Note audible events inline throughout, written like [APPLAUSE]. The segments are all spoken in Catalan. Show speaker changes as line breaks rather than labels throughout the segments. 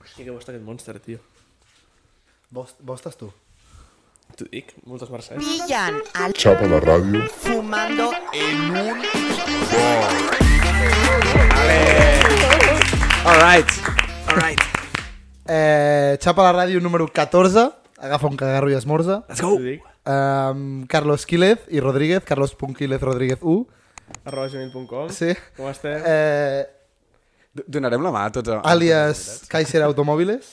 Hòstia, que bo està aquest Monster, tio.
Vols, vols estàs tu?
T'ho dic, moltes mercès.
Brillan al
Chapa la radio.
fumando en un
Alright, alright.
Eh, xapa la ràdio número 14, agafa un cagarro i esmorza.
Let's go. T'ho dic,
Um, Carlos Quílez i Rodríguez, carlos.quílez rodríguez 1.
arroba gmail.com.
Sí.
Com estem?
Eh,
[LAUGHS] Do- Donarem la mà a tots. els-
alias Kaiser Automòbiles,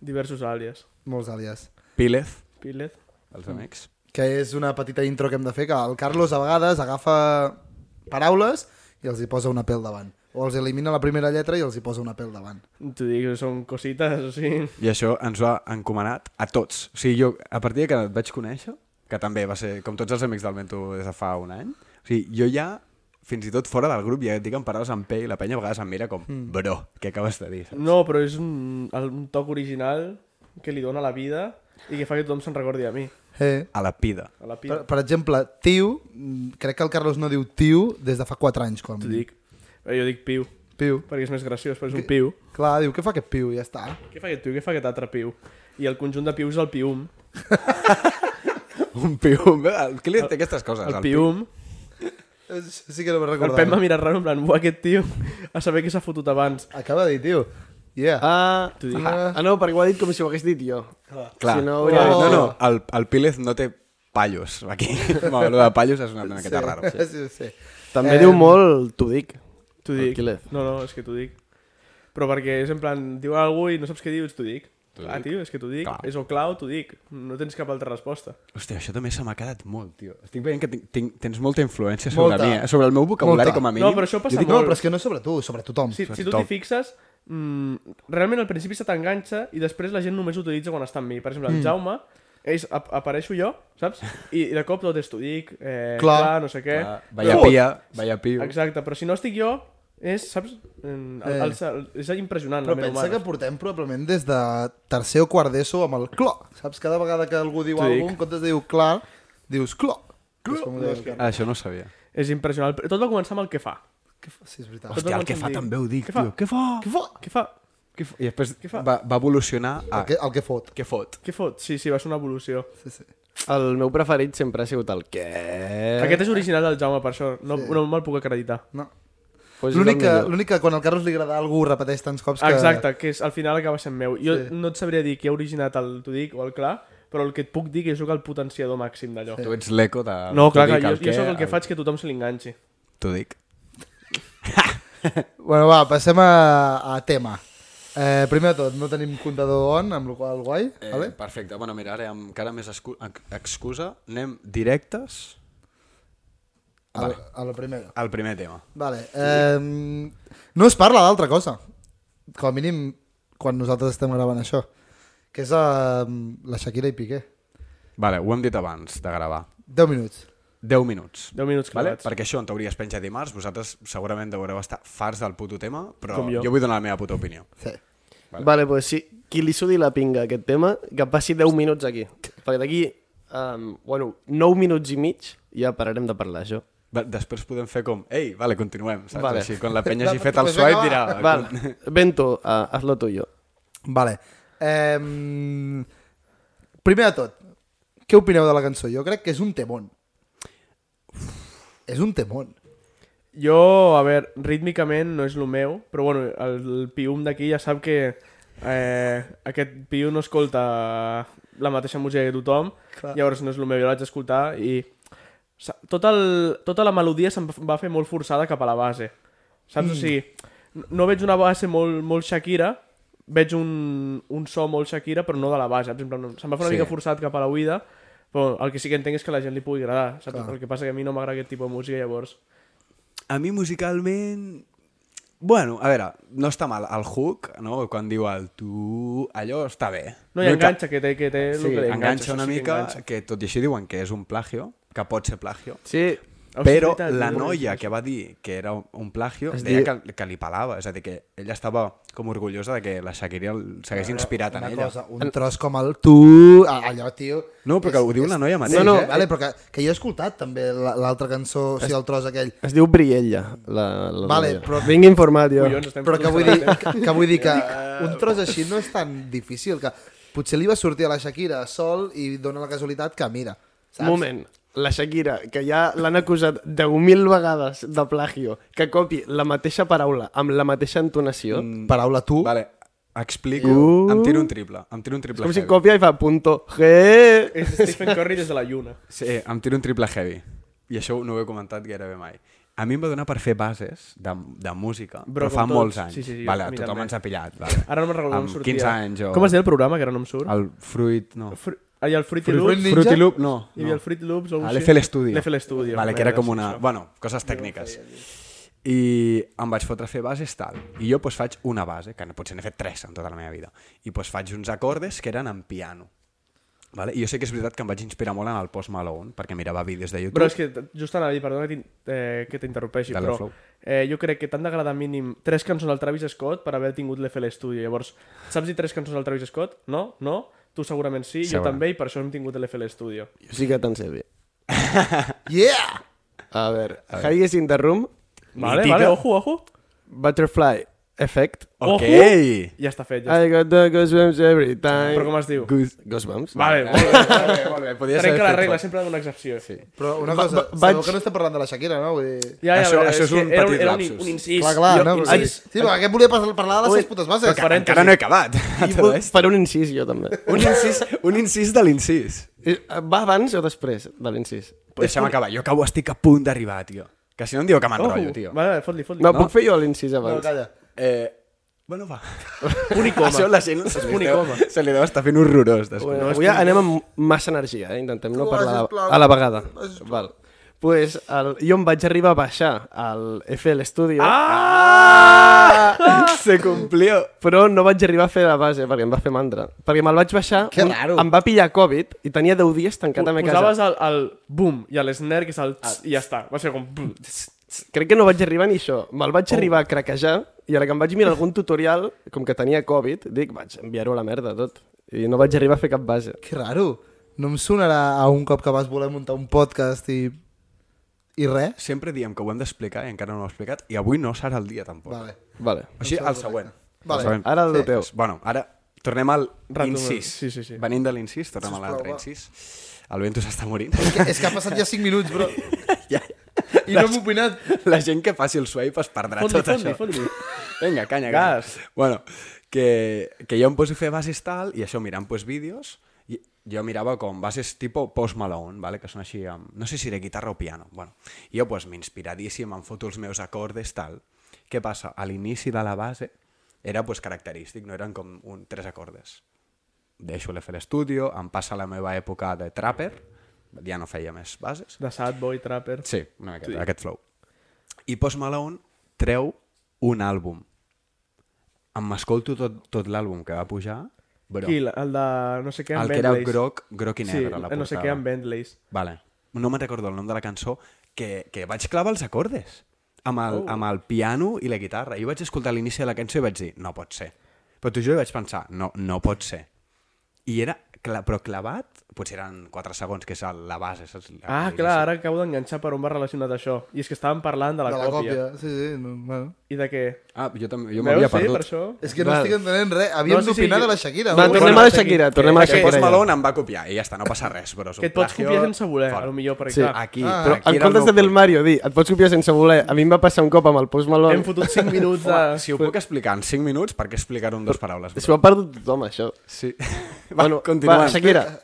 Diversos àlies.
molts àlies.
Pílez,
Pílez.
els amics.
Que és una petita intro que hem de fer, que el Carlos a vegades agafa paraules i els hi posa una pèl davant. O els elimina la primera lletra i els hi posa una pèl davant.
T'ho dic, són cosites, o sigui...
I això ens ho ha encomanat a tots. O sigui, jo, a partir de que et vaig conèixer, que també va ser, com tots els amics del Mento des de fa un any, o sigui, jo ja, fins i tot fora del grup, ja et dic en paraules amb P i la penya a vegades em mira com, mm. bro, què acabes de dir? saps?
No, però és un, el- un toc original que li dona la vida i que fa que tothom se'n recordi a mi,
Eh,
A la pida. [LAUGHS]
a la pila.
per, per exemple, tio, mm, crec que el Carlos no diu tio des de fa 4 anys. Com.
T'ho dic. Eh, Jo dic piu,
Piu.
perquè és més graciós, però és un piu.
Clar, diu, què fa aquest piu? Ja està.
Què fa aquest piu? Què fa aquest altre piu? I el conjunt de pius és el pium.
Un pium. El Què li té aquestes coses?
El
al
pium.
Això Sí que no me'n
El
recordava.
Pep m'ha mirat raro en plan, "Buah, aquest tio, a saber què s'ha fotut abans.
Acaba de dir, tio. Yeah.
Ah,
T'ho dic.
ah, ah, no, perquè ho ha dit com si ho hagués dit jo.
Clar.
Si no,
no,
hauria
no,
dit-
no, el, el Pílez no té pallos aquí. [LAUGHS] Bueno, el de pallos és una miqueta sí. raro.
Sí, sí, sí.
També
Eh,
diu molt, t'ho dic.
T'ho
El
dic.
Quílez.
No, no, és que t'ho dic. Però perquè és en plan, diu algú i no saps què dius, t'ho dic. Ah, tio, és que t'ho dic.
Clar.
És o clau, t'ho dic. No tens cap altra resposta.
Hòstia, això també se m'ha quedat molt, tio. Estic veient que tinc, tinc, tens molta influència sobre
Molta.
mi, eh? sobre el meu vocabulari
Molta.
com a mínim.
No, però això passa
Jo dic, no,
molt.
però és que no sobre tu, sobre tothom.
Si,
Sí.
si tu
Top.
t'hi fixes, mm, realment al principi se t'enganxa i després la gent només ho utilitza quan està amb mi. Per exemple,
Mm.
el Jaume, ells, ap apareixo jo, saps? I, i de cop tot és t'ho dic, eh, clar.
Clar.
clar, no sé què.
Ah, Vaya pia, vaya pio.
Exacte, però si no estic jo, és, saps? Mm, El, el, el, és impressionant,
Eh. Però
la meva
pensa que
humana.
portem probablement des de tercer o quart d'ESO amb el clo. Saps? Cada vegada que algú diu
T'ho dic.
alguna en comptes de diu clar, dius clo. És com ho deia el Carles.
Ah, això no ho sabia.
És impressionant. Tot va començar amb el que fa.
Què fa? Sí, és veritat.
Tot
Hòstia,
va
el que
començar
fa
amb dir,
també ho dic,
què fa?
tio. Què fa?
Què fa? Què fa?
Què fa? I després
Què fa?
va, va evolucionar a...
El que, el que fot.
Què fot?
Què fot? Sí, sí, va ser una evolució.
Sí, sí.
El meu preferit sempre ha sigut el què.
Aquest és original del Jaume, per això. No, no me'l puc acreditar.
No.
Pues és el
L'únic que,
millor.
l'únic que quan al Carlos li agrada algú ho repeteix tants cops que...
Exacte, que és, al final acaba sent meu. Jo sí. no et sabria dir qui ha originat el t'ho dic o el clar, però el que et puc dir que jo sóc el potenciador màxim d'allò. Sí.
Tu ets l'eco de...
No, clar,
t'ho
que
dic,
jo, jo sóc el que faig que tothom se l'enganxi.
T'ho dic.
Bueno, va, passem a, a tema. Eh, primer de tot, no tenim comptador on, amb la qual cosa guai.
Eh,
vale?
Perfecte. Bueno, mira, ara amb cara més excu- ex- excusa, anem directes
A, la- a la primera.
al primer tema.
Vale. Eh, no es parla d'altra cosa. Com a mínim quan nosaltres estem gravant això. Que és eh, la Shakira i Piqué.
Vale, ho hem dit abans de gravar.
10 minuts.
10 minuts.
10 minuts
Vale?
clavats.
Perquè això, en teoria, es penja dimarts. Vosaltres segurament deureu estar farts del puto tema, però
Com jo.
jo. vull donar la meva puta opinió.
Sí.
Vale, vale pues sí, qui li sudi la pinga a aquest tema, que passi 10 minuts aquí. Perquè d'aquí, um, bueno, 9 minuts i mig ja pararem de parlar això.
Va, després podem fer com, ei, vale, continuem, saps?
Vale.
Vale. Així, quan la penya hagi
Va,
fet el
pues
swipe
vinga,
dirà...
va.
[LAUGHS]
Vale, Bento, uh, hazlo tuyo.
Vale. Eh, primer de tot, què opineu de la cançó? Jo crec que és un temón. És un temón.
Jo, a veure, rítmicament no és el meu, però bueno, el, el pium d'aquí ja sap que eh, aquest piu no escolta la mateixa música que tothom, Clar. llavors no és el meu, jo la vaig escoltar i sa- tot el, tota la melodia se'm va fer molt forçada cap a la base, saps? Mm. O sigui, no- no veig una base molt, molt Shakira, veig un, un so molt Shakira, però no de la base, saps? En plan, Se'm va fer una sí.
Sí.
mica forçat cap a la oïda, però el que sí que entenc és que a la gent li pugui agradar, saps? El que passa que a mi no m'agrada aquest tipus de música, llavors...
A mi musicalment... Bueno, a veure, no està mal. El hook, no? quan diu el tu... Allò està bé.
No, i
ca-
enganxa, que té, que té el
Sí,
que li
enganxa
això
una
sí que
mica,
enganxa.
que tot i així diuen que és un plagio, que pot ser plagio.
Sí,
Hòstia,
Però
és veritat,
la
no ho
noia
coneixes.
que va dir que era un plagio
Es
es deia
diu-
que, que li pelava, és a dir, que ella estava com orgullosa de que la Shakira el- s'hagués inspirat en
una
ella.
cosa, un tros com el tu, a- allò, tio...
No, però que ho diu la noia mateixa,
No, no,
eh?
vale, però que, que jo he escoltat també la- l'altra cançó, o sigui, el tros aquell.
Es diu Briella, la, la
Vale,
noia.
però-
Vinc informat, jo.
Collons, estem
Però que vull, dir,
començant, eh?
que, que vull dir que un tros així no és tan difícil, que potser li va sortir a la Shakira sol i dona la casualitat que mira, saps?
Moment. La Shakira, que ja l'han acusat 10.000 vegades de plagio, que copi la mateixa paraula amb la mateixa entonació, mm.
Paraula tu, vale.
eh? Vale, explico.
Uh.
Em tiro un triple. Em tiro un triple
com si
heavy.
copia i fa punto G... E.
És Stephen Curry des de la lluna.
Sí, em tiro un triple heavy. I això no ho he comentat gairebé mai. A mi em va donar per fer bases de, de música,
Bro,
però fa
com tots.
molts anys.
Sí, sí, sí, a
vale,
mi
a tothom
també.
ens ha pillat. Vale.
Ara no me'n recordo on
Amb
sortia.
15 anys o...
Com es deia el programa, que ara no em surt? El...
El Fruit, no.
Fr... Ah, hi ha el Fruity
Fruit
Loops.
Ninja?
Fruity Loop, no.
Hi havia el Fruit Loops o algo
no. Ah,
així.
L'FL Studio.
L'FL Studio.
Vale, que era com una...
Això.
Bueno, coses tècniques. I em vaig fotre a fer bases tal. I jo pues, faig una base, que potser n'he fet tres en tota la meva vida. I pues, faig uns acordes que eren en piano. Vale? I jo sé que és veritat que em vaig inspirar molt en el Post Malone, perquè mirava vídeos de YouTube.
Però és que, t- just anava a dir, perdona que t'in- eh, que t'interrompeixi,
Dale,
però
Flow.
eh, jo crec que t'han d'agradar mínim tres cançons al Travis Scott per haver tingut l'FL Studio. Llavors, saps dir tres cançons al Travis Scott? No? No? Tu segurament sí, jo
Segurament.
també, i per això hem tingut l'FL Studio.
Jo sí que te'n sé bé.
yeah!
A veure, Highest in the Room,
Vale,
Mítica.
vale, ojo, ojo.
Butterfly Effect,
Ojo.
Ok!
Ja està fet, Oh, ja està.
I got the goosebumps every time.
Però com es diu?
Good.
Goosebumps?
Vale, molt bé.
Molt bé, molt bé. Podies
Trenca la
fet-
regla, sempre d'una excepció. Sí.
Però una cosa,
va-
sabeu
vaig-
que no estem parlant de la Shakira, no? Vull dir...
Ja, ja,
Això-
veure,
això és
que
un
era
petit
era
lapsus.
un, un incís.
Clar, clar,
jo,
no? Però, sí,
Incís.
sí, però aquest volia pas- parlar de les seves putes bases.
Però que-
Encara no he acabat. [LAUGHS] Tot
Evil,
això.
faré un incís, jo també.
Un incís, un incís de l'incís.
Eh, Va abans o després de l'incís?
Deixa'm acabar. Jo acabo, estic a punt d'arribar, tio. Que si no em diu que m'enrotllo, tio.
Vale, vale, fot-li, fot-li.
No, puc fer jo l'incís
No,
abans?
calla.
Eh, bueno, [LAUGHS] va.
Un i coma.
Això la gent se
És
li,
un i
deu,
coma.
se li deu estar fent horrorós després.
Bueno, avui anem amb massa energia, eh? intentem no
Oh,
parlar
sisplau.
a la vegada. Val. Pues el, jo em vaig arribar a baixar al FL Studio,
Ah! Se cumplió.
però no vaig arribar a fer la base perquè em va fer mandra. Perquè me'l vaig baixar,
Que
un-
raro.
em va pillar Covid i tenia 10 dies tancat a mi a casa.
Posaves el, el boom i l'esner, que és el
Ah.
tss, i ja està. Va ser com... [LAUGHS] bum, tss.
Crec que no vaig arribar ni això. Me'l vaig arribar a craquejar i a la que em vaig mirar algun tutorial, com que tenia Covid, dic, vaig enviar-ho a la merda tot. I no vaig arribar a fer cap base.
Que raro. No em sonarà a un cop que vas voler muntar un podcast i... I res?
Sempre diem que ho hem d'explicar i encara no ho he explicat i avui no serà el dia tampoc.
Vale.
Vale.
Així, el següent.
Vale.
El següent.
Ara el teu.
Doncs, bueno, ara tornem al
Random.
incís.
Sí, sí, sí.
Venint de l'incís, tornem a
Sisplau,
l'altre
va.
incís. El vento s'està morint. [LAUGHS]
Que, és que ha passat ja 5 minuts, bro.
ja.
I no hem opinat.
La gent que faci el swipe es perdrà
Fot-li,
tot
fot-li,
això.
fot-li.
Vinga, canya,
Gas.
gas. Bueno, que, que jo em poso a fer bases tal, i això mirant pues, vídeos, i jo mirava com bases tipo Post Malone, vale? que són així, amb, no sé si era guitarra o piano. Bueno, i jo pues, m'inspiradíssim, em foto els meus acordes tal. Què passa? A l'inici de la base era pues, característic, no eren com un, tres acordes. Deixo l'FL Studio, em passa la meva època de trapper, ja no feia més bases,
De Sad Boy, Trapper...
Sí, una miqueta, sí. aquest flow. I Post Malone treu un àlbum. Em m'escolto tot, tot l'àlbum que va pujar, però
Qui, la- el de... No sé què, amb
el que era
Bentleys.
groc, groc i negre,
sí,
la
eh,
portada.
no sé què, amb Bentleys.
Vale. No me'n recordo el nom de la cançó, que, que vaig clavar els acordes amb el, oh. amb el piano i la guitarra. I vaig escoltar l'inici de la cançó i vaig dir, no pot ser. Però tu jo vaig pensar, no, no pot ser. I era, cla però clavat, potser eren 4 segons, que és el- la base, saps?
Ah,
L'inici.
clar, ara acabo d'enganxar per on va relacionat això. I és que estàvem parlant de la,
De la
còpia.
còpia. Sí, sí. No, bueno.
I de què?
Ah, jo també, jo
Veus,
m'havia
sí,
perdut.
per això...
És que no estic entenent res. Havíem
No, sí, sí,
d'opinar
jo-
de la Shakira. no?
Va, tornem
Bueno,
a la
seguim.
Shakira, tornem a la
Que Post
Shakira.
Malone em va copiar i ja està, no passa res, però és un
Que et pots
plagio.
copiar sense voler,
Fora.
a lo millor, perquè
Sí.
clar,
Aquí,
Ah.
però
En
aquí era el
comptes de
meu
Del
punt.
Mario dir, et pots copiar sense voler, a mi em va passar un cop amb el Post Malone.
hem fotut [LAUGHS] 5 minuts de...
Home, si ho puc explicar en 5 minuts, per què explicar-ho en dues paraules?
S'ho ha perdut tothom, això. [LAUGHS]
Sí. Va,
Bueno,
continuem.
va, Shakira.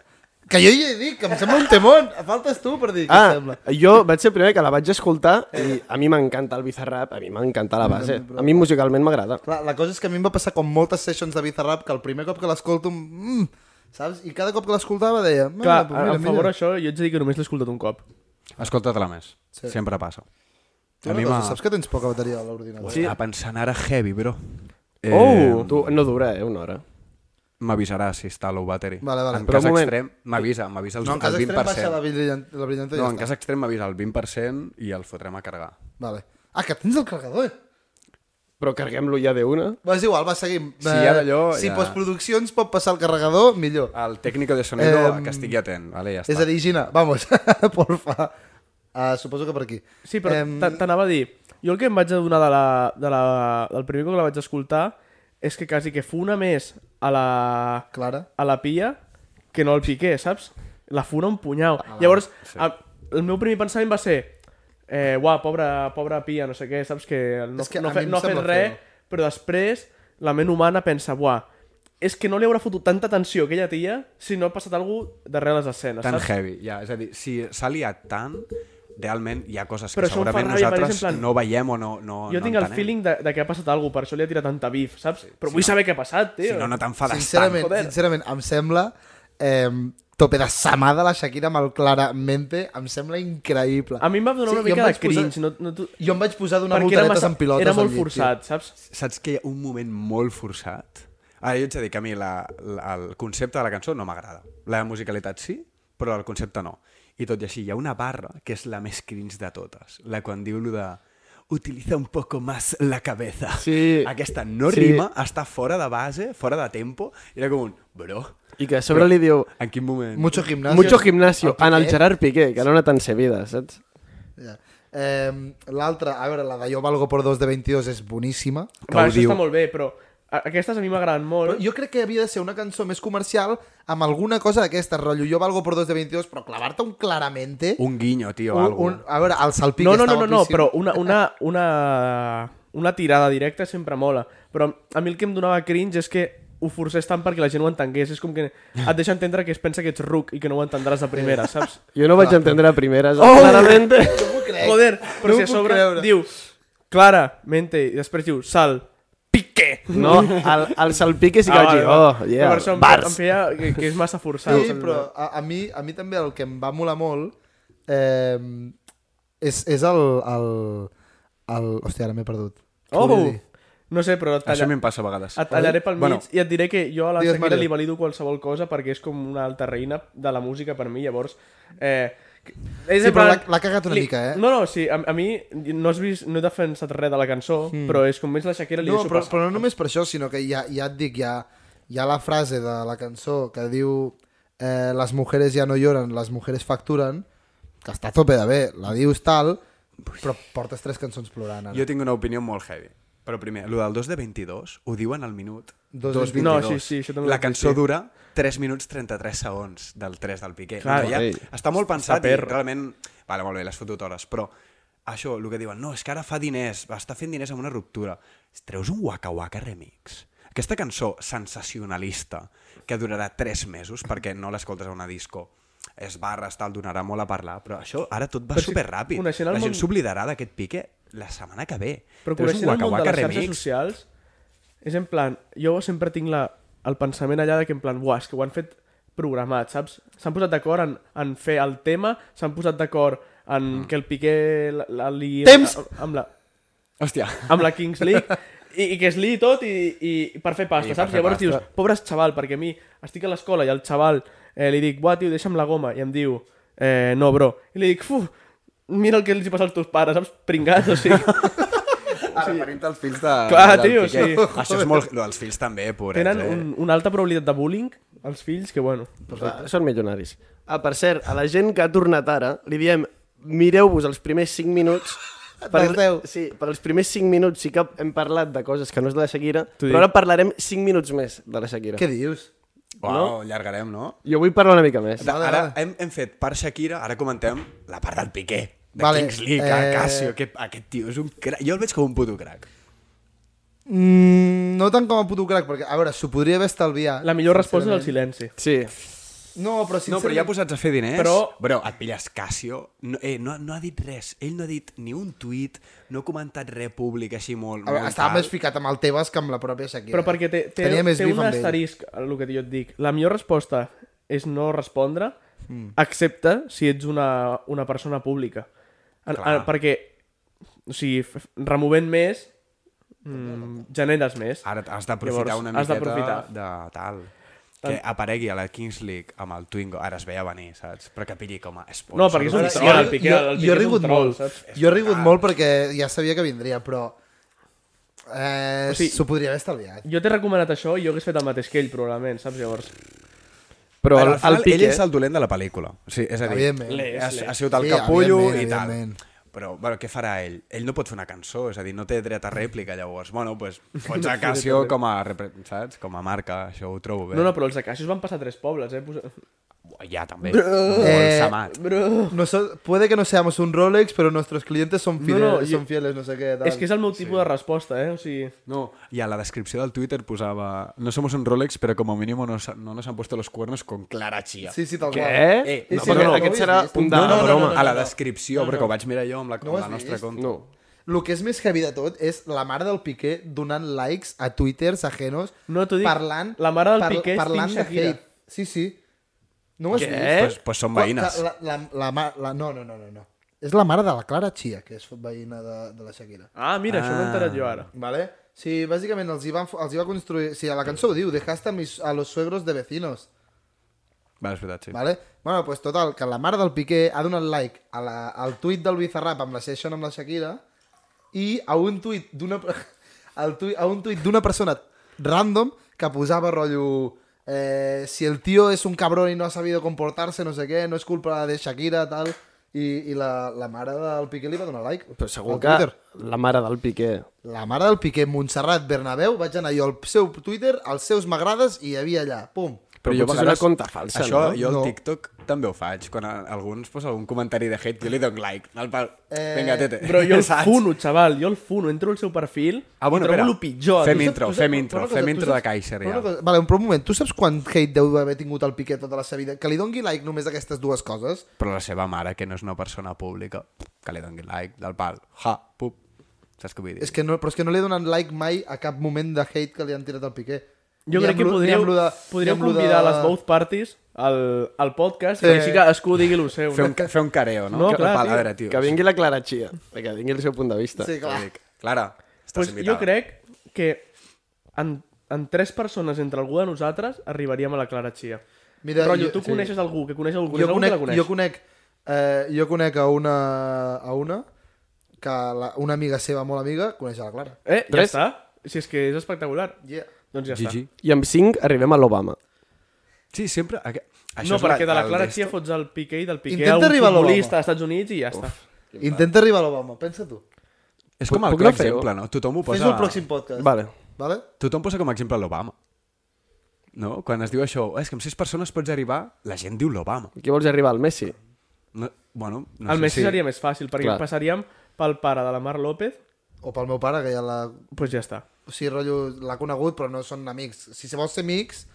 Que jo ja he dit, que em sembla un temón. Faltes tu per dir què ah.
Ah,
sembla.
jo vaig ser el primer que la vaig escoltar i a mi m'encanta el Bizarrap, a mi m'encanta la base. A mi musicalment m'agrada.
Clar, la cosa és que a mi em va passar com moltes sessions de Bizarrap que el primer cop que l'escolto... Mm, saps? I cada cop que l'escoltava deia... "Mira,
Clar,
pues
a,
mira,
a favor
mira".
això, jo ets a dir que només l'he escoltat un cop.
Escolta-te-la més.
Sí.
Sempre passa.
Tu una cosa, saps que tens poca bateria a l'ordinador?
Sí. A pensar ara heavy, bro.
Oh! Tu, no dura, eh, una eh, hora.
m'avisarà si està a low battery.
Vale, vale.
En
Però
cas
un moment.
extrem, m'avisa, m'avisa el,
No, en cas
el
extrem baixa la
20%.
brillant- la brillanta i
No,
ja
en
està.
cas extrem m'avisa el 20% i el fotrem a carregar.
Vale. Ah, que tens el carregador, eh?
Però carreguem-lo ja d'una.
Va, és igual, va, seguim. Eh,
Si hi ha d'allò,
Si
ja.
postproduccions pot passar el carregador, millor.
El tècnic de sonido,
Em,
que estigui atent. Vale, ja
és
està.
a dir, Gina, vamos, [LAUGHS] porfa. Uh, suposo que per aquí.
Sí, però
Em,
um... t'anava a dir... Jo el que em vaig adonar de la, de la, del primer cop que la vaig escoltar és que quasi que funa més a la,
Clara.
a la pia que no al Piqué, saps? La funa un punyau. Llavors,
Ah, sí.
a, el meu primer pensament va ser eh, uà, pobra, pobra pia, no sé què, saps? Que no,
És que
no,
a
fe,
mi em
no ha fet
sembla
res,
feo.
però després la ment humana pensa, uà, és que no li haurà fotut tanta atenció a aquella tia si no ha passat alguna cosa darrere les escenes,
Tan
saps?
heavy, ja. És a dir, si s'ha liat tant, realment hi ha coses
Però
que
això em fa
segurament
ràbia, perquè és en
nosaltres
plan-
no veiem o no, no
Jo
no
tinc el
entenem.
feeling de, de que ha passat alguna cosa, per això li ha tirat tanta bif, saps? Però vull saber què ha passat, tio.
Si no, no t'enfades
Sincerament,
joder.
sincerament, em sembla eh, tope de samada la Shakira amb el claramente, em sembla increïble.
A mi em va donar una
jo
mica
em
de
vaig
cringe, no, no tu...
Jo em vaig posar d'una
perquè era,
voltaretes
massa,
amb pilotes
era
al
molt
llit,
forçat, saps?
saps que hi ha un moment molt forçat? Ara jo ets a dir que a mi la, la, el concepte de la cançó no m'agrada. La musicalitat sí, però el concepte no. I tot i així, hi ha una barra que és la més crins de totes. La quan diu lo de utilitza un poco más la cabeza.
Sí.
Aquesta no
Sí.
rima, està fora de base, fora de tempo. I era com un, bro,
I que a sobre li diu...
en quin moment?
Tio. Mucho gimnasio.
Mucho gimnasio, Ah, en el
Piqué.
Gerard Piqué, que no era tan sevida, saps?
Ja. Eh, L'altra, a veure, la de Yo valgo por dos de 22 és boníssima.
Que
Va,
ho
això
diu.
està molt bé, però a- aquestes a mi m'agraden
Però
molt.
jo crec que havia de ser una cançó més comercial amb alguna cosa d'aquesta, rotllo Yo valgo por dos de 22, però clavar-te un claramente...
Un guinyo, tio,
un,
algo.
un, a veure, el salpic
No, no,
està
no, no, no,
guapíssim.
però una, una, una, una tirada directa sempre mola. Però a mi el que em donava cringe és que ho forcés tant perquè la gent ho entengués. És com que et deixa entendre que es pensa que ets ruc i que no ho entendràs de primera, saps?
Jo no vaig entendre a primeres, oh! clarament.
No m'ho crec.
Joder, però
No
si
ho
a
puc
sobre
creure.
diu Clara, mente, i després diu Sal, pique.
[LAUGHS] No, el, el salpique sí que vaig dir, oh, yeah,
Per això em, em
bars.
feia que, que és massa forçat.
Sí, però a, a, mi, a mi també el que em va molar molt eh, és, és el, el, el... Hòstia, ara m'he perdut. Què
Oh!
volia dir?
No sé, però et,
Això a mi
talla,
em passa a vegades.
et tallaré pel mig
Bueno.
bueno, i et diré que jo a la
Digues,
Shakira
Mario.
li valido qualsevol cosa perquè és com una alta reina de la música per mi, llavors... Eh, que- és
Sí,
en
però
plan-
l'ha- l'ha cagat una mica, eh?
No, no, sí, a, a mi no, has vist, no he defensat res de la cançó, mm. però és com més la Shakira li
Hmm. No,
deixo
però,
passar.
però no només per això, sinó que ja, ja et dic, hi ha, hi ha la frase de la cançó que diu eh, les mujeres ja no lloren, les mujeres facturen, que està a tope de bé, la dius tal, però portes tres cançons plorant ara.
Jo tinc una opinió molt heavy. Però primer, el del 2 de 22 ho diuen al minut.
Dos
2
No,
22.
sí, sí, això també ho
La
vaig
cançó
dir, sí.
dura 3 minuts 33 segons del 3 del Piqué.
Clar,
no, ja,
sí.
està molt pensat i
perro.
realment... Vale, molt bé, l'has fotut hores, però això, el que diuen, no, és que ara fa diners, està fent diners amb una ruptura. Treus un Waka Waka remix. Aquesta cançó sensacionalista, que durarà 3 mesos perquè no l'escoltes a una disco, es va arrestar, el donarà molt a parlar, però això ara tot va
Però si
superràpid. La
coneixent el món-
gent s'oblidarà d'aquest pique la setmana que ve.
Però
Treus un
coneixent el
Waka
món de
Waka
les xarxes
remix.
socials, és en plan, jo sempre tinc la, el pensament allà de que en plan, buah, és que ho han fet programat, saps? S'han posat d'acord en, en fer el tema, s'han posat d'acord en mm. que el Piqué la, la, li...
Hmm. Temps!
a- Amb la,
Hòstia.
amb la Kings League, i, i que es li tot i, i per fer pasta,
I per
saps?
fer
Llavors
pasta.
dius, pobres xaval, perquè a mi estic a l'escola i el xaval eh, li dic, buah, tio, deixa'm la goma, i em diu, eh, no, bro. I li dic, fu, mira el que els hi passa als teus pares, saps? Pringats, o
[LAUGHS]
sigui...
Ah, referint als fills de...
Clar,
del
tio,
Piqué.
sí.
Ah, Això és molt... Lo dels fills també, pobrets,
Tenen
eh?
un, una alta probabilitat de bullying, els fills, que bueno...
Ah, Són milionaris. Ah, per cert, a la gent que ha tornat ara, li diem mireu-vos els primers 5 minuts
Dels deu.
sí, per els primers 5 minuts sí que hem parlat de coses que no és de la Shakira,
T'ho
però
dic.
ara parlarem 5 minuts més de la Shakira.
Què dius?
Uau, no? llargarem, no?
Jo vull parlar una mica més.
Ara,
Vale,
ara
vale.
hem, hem fet part Shakira, ara comentem la part del Piqué,
Vale,
de vale, Kings League,
eh,
eh... Casio, aquest, aquest tio és un crac. Jo el veig com un puto crac.
Mm, no tant com a puto crac, perquè, a veure, s'ho podria haver estalviat.
La millor resposta és el silenci.
Sí.
No, però sincerament...
No, però ja posats a fer diners,
Però-
bro, et pilles Casio, no, eh, no, no ha dit res, ell no ha dit ni un tuit, no ha comentat res públic així molt...
A veure,
molt
estava
tal.
més ficat amb el Tebas que amb la pròpia Shakira.
Però perquè té, té,
Tenia més
té
bif
un
amb ell.
asterisc, el que jo et dic. La millor resposta és no respondre, mm. excepte si ets una, una persona pública. En,
Clar.
en, perquè, o sigui, f- f- removent més, mm, generes més.
Ara has d'aprofitar
Llavors,
una
has
miqueta
d'aprofitar.
de tal. que aparegui a la Kings League amb el Twingo, ara es veia venir, saps? Però que pilli com a sponsor.
No, perquè és un
Ara,
troll, el Piqué, el Piqué
jo he
és un
rigut
troll,
molt,
saps?
jo he rigut molt perquè ja sabia que vindria, però eh,
O
o
sigui-
s'ho podria haver estalviat.
Jo t'he recomanat això i jo hagués fet el mateix que ell, probablement, saps? Llavors,
Però
Al
el,
final,
el Piqué...
ell és el dolent de la pel·lícula. Sí, és a dir,
Evidentment.
ha, ha sigut el
Sí,
capullo
evidentment,
i tal.
evidentment.
Però, bueno, què farà ell? Ell no pot fer una cançó, és a dir, no té dret a rèplica, llavors. Bueno,
[LAUGHS]
doncs, pues, fots a Casio com a, repre- saps? com a marca, això ho trobo bé.
no, no, però els acaixos van passar a tres pobles, eh? Posa-
Ja, també. O el
Eh,
Samat.
Noso- puede que no seamos un Rolex, pero nuestros clientes son fieles,
no,
no,
jo-
son fieles no sé qué. Tal.
És que és el meu tipus de resposta, eh? O sigui...
No, y a la descripció del Twitter posava no somos un Rolex, pero como mínimo nos, ha- no nos han puesto los cuernos con clara chia.
Sí, sí, tal
Què?
qual.
Eh,
Sí,
no,
sí,
però no.
Aquest serà un de
No, no, no,
broma.
a la descripció, no, no. perquè ho vaig mirar jo amb la,
No
amb
ho
la
has
nostra
vist?
compte.
No.
Lo que és més heavy de tot és la mare del Piqué donant likes a twitters ajenos
No, t'ho dic,
parlant,
la mare del Piqué és
parlant
Team
de
Shakira.
hate. Sí, sí. No ho has
Què?
vist?
Eh?
Pues, pues són veïnes.
La, la, la, la, la, no, no, no, no, no. És la mare de la Clara Chia, que és veïna de, de la Shakira.
Ah, mira, això m'he enterat jo ara.
Vale? Sí, bàsicament els hi, van, fo- els hi va construir... Sí, a la cançó ho diu, dejaste a, mis, a los suegros de vecinos.
Vale, és veritat, sí.
Vale? Bueno, pues total, que la mare del Piqué ha donat like a la, al tuit del Bizarrap amb la session amb la Shakira i a un tuit d'una [LAUGHS] al tuit, a un tuit d'una persona random que posava rotllo eh, si el tío es un cabrón y no ha sabido comportarse, no sé què, no és culpa de Shakira, tal... I, i la, la mare del Piqué li va donar like.
Però
al
segur que
Twitter.
la mare del Piqué
La mare del Piqué, Montserrat Bernabéu, vaig anar jo al seu Twitter, als seus m'agrades i hi havia allà, pum.
Però
jo a
potser és una
vegades-
conta falsa,
això,
no?
jo al
No.
TikTok també ho faig. Quan a- algú ens posa algun comentari de hate, jo li dono like. Al pal,
Eh,
vinga, tete.
Però jo el
[LAUGHS] Saps?
funo, xaval, jo el funo. Entro al seu perfil
Ah, bueno,
i trobo
espera.
el pitjor.
Fem
Tu saps-
intro,
tu saps-
fem intro,
Però una cosa,
fem
tu
intro de
saps-
Kaiser,
però
ja.
una cosa- Vale, un, però un moment, tu saps quant hate deu haver tingut el Piqué tota la seva vida? Que li dongui like només d'aquestes dues coses?
Però la seva mare, que no és una persona pública, que li doni like, del pal, ha, pup. Saps què vull dir?
És que no, però és que no li he donat like mai a cap moment de hate que li han tirat al Piqué.
Jo
Ni
crec
amb
que
lo- ni
podríeu,
amb lo de-
podríeu
ni amb lo de-
convidar les both parties al, al podcast
Sí.
sí. així cadascú digui el seu.
Fer un, fer un careo, no?
No,
Que-
clar,
pal,
tio.
a veure, tio.
Que vingui la Clara Chia, que vingui el seu punt de vista.
Sí, clar.
Dic, Clara, estàs
pues
invitada.
jo crec que en, en tres persones entre algú de nosaltres arribaríem a la Clara Chia.
Mira,
Rotllo,
jo-
tu
sí.
coneixes algú que coneix algú, coneix
jo
algú
conec,
que la coneix.
jo conec, eh, jo conec a una, a una que la, una amiga seva, molt amiga, coneix a la Clara.
Eh, ja
Tres?
està. Si és que és espectacular.
Yeah.
Doncs ja
Gigi.
I amb 5 arribem a l'Obama.
Sí, sempre... aqu-
està.
Això
No,
és
perquè de la
el
Clara
d'esto.
Chia fots el Piqué i del Piqué
Intenta
a un
arribar a l'Obama.
futbolista als Estats Units i ja està.
Intenta arribar a l'Obama, pensa tu.
És com el
Puc
clar
anar a fer-ho?
exemple, no? Tothom ho
Posa... Fes
posa...
el pròxim podcast.
Vale.
Vale?
Tothom posa com a exemple l'Obama. No? Quan es diu això, és que amb sis persones pots arribar, la gent diu l'Obama.
Qui vols arribar? Al Messi?
No, bueno, no
No el
sé
Messi
si...
seria més fàcil, perquè
Clar.
passaríem pel pare de la Mar López,
O pel meu pare, que ja la...
doncs pues ja està.
O sigui, rotllo, l'ha conegut, però no són amics. Si se vols ser amics,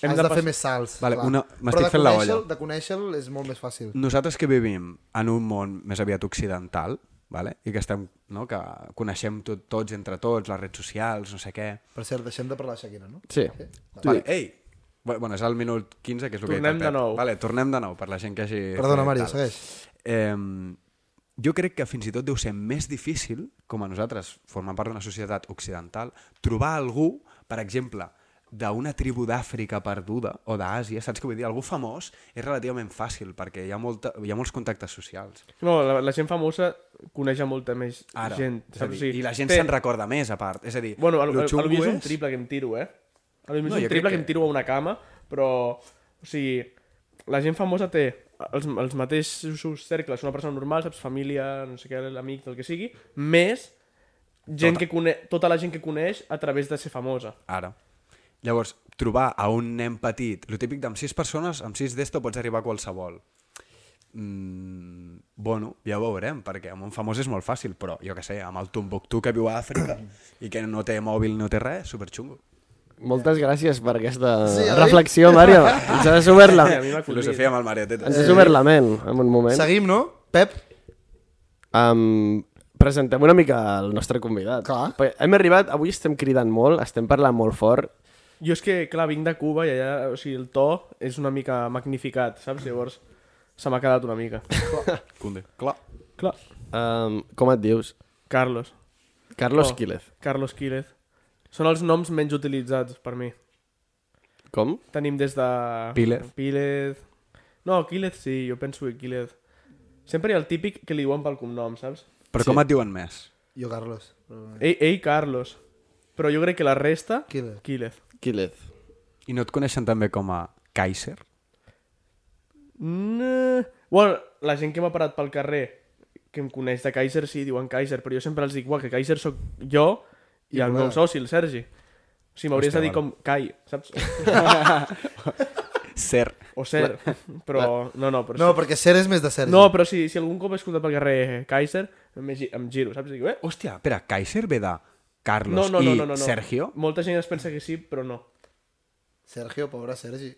Hem
Hem has
de
de,
pas-
fer més salts.
Vale,
clar.
una- m'estic
Però de
fent la
conèixer-lo-
olla.
De conèixer-lo és molt més fàcil.
Nosaltres que vivim en un món més aviat occidental, vale? i que estem, no? que coneixem tot, tots entre tots, les redes socials, no sé què...
Per cert, deixem de parlar de Shakira, no?
Sí.
Vale, ei! Bu- Bueno, és el minut 15, que és el que he
Tornem de
tapat.
nou.
Vale, tornem de nou, per la gent que hagi...
Perdona,
fet
Mario,
tal.
segueix.
Eh, jo crec que fins i tot deu ser més difícil, com a nosaltres, formant part d'una societat occidental, trobar algú, per exemple, d'una tribu d'Àfrica perduda o d'Àsia, saps què vull dir? Algú famós és relativament fàcil perquè hi ha, molta, hi ha molts contactes socials.
No, la, la gent famosa coneix a molta més
Ara,
gent.
és a dir,
O sigui,
I la gent
té-
se'n recorda més, a part. És a dir,
Bueno,
lo
al, al,
xungo
potser és un triple que em tiro, eh? A lo
No,
millor és un
jo crec
triple que...
que-
em tiro a una cama, però... O sigui, la gent famosa té els, els mateixos cercles, una persona normal, saps, família, no sé què, l'amic, el que sigui, més gent tota. que cone... tota la gent que coneix a través de ser famosa.
Ara. Llavors, trobar a un nen petit, el típic d'amb sis persones, amb sis d'esto pots arribar a qualsevol. Mm, bueno, ja ho veurem, perquè amb un famós és molt fàcil, però jo que sé, amb el Tombuctú que viu a Àfrica i que no té mòbil, no té res, superxungo.
Moltes gràcies per aquesta
Sí, oi?
reflexió, Mario. Ens has obert la,
A mi m'ha acudit.
Ah, Filosofia amb el Mario Teta.
ens has obert la ment en un moment.
Seguim, no? Pep?
Um, presentem una mica el nostre convidat.
Clar.
Perquè Hem arribat, avui estem cridant molt, estem parlant molt fort.
Jo és que, clar, vinc de Cuba i allà, o sigui, el to és una mica magnificat, saps? Llavors, se m'ha quedat una mica.
Cunde. Clar.
clar.
Um, com et dius?
Carlos.
Carlos
Oh.
Quílez.
Carlos Quílez. Són els noms menys utilitzats per mi.
Com?
Tenim des de...
Pílez.
Pílez. No, Quílez sí, jo penso que Quílez. Sempre hi ha el típic que li diuen pel cognom, saps?
Però com et diuen més?
Jo, Carlos. però-
Ei, ei, Carlos. Però jo crec que la resta...
Quílez.
Quílez.
Quílez.
I no et coneixen també com a Kaiser?
No. Bueno, la gent que m'ha parat pel carrer que em coneix de Kaiser, sí, diuen Kaiser, però jo sempre els dic, uah, que Kaiser sóc jo i, el meu soci, el Sergi. O sigui, m'hauries de dir com Kai, saps?
Ser.
O Ser, però... No, no, però...
No,
sí.
perquè Ser és més de Sergi.
no, però si, si algun cop he escoltat pel carrer Kaiser, em, gi- em giro, saps? Dic, eh?
Hòstia, espera, Kaiser ve de
No,
Carlos
no, no,
i
no, no, no.
Sergio?
Molta gent es pensa que sí, però no.
Sergio, pobre Sergi.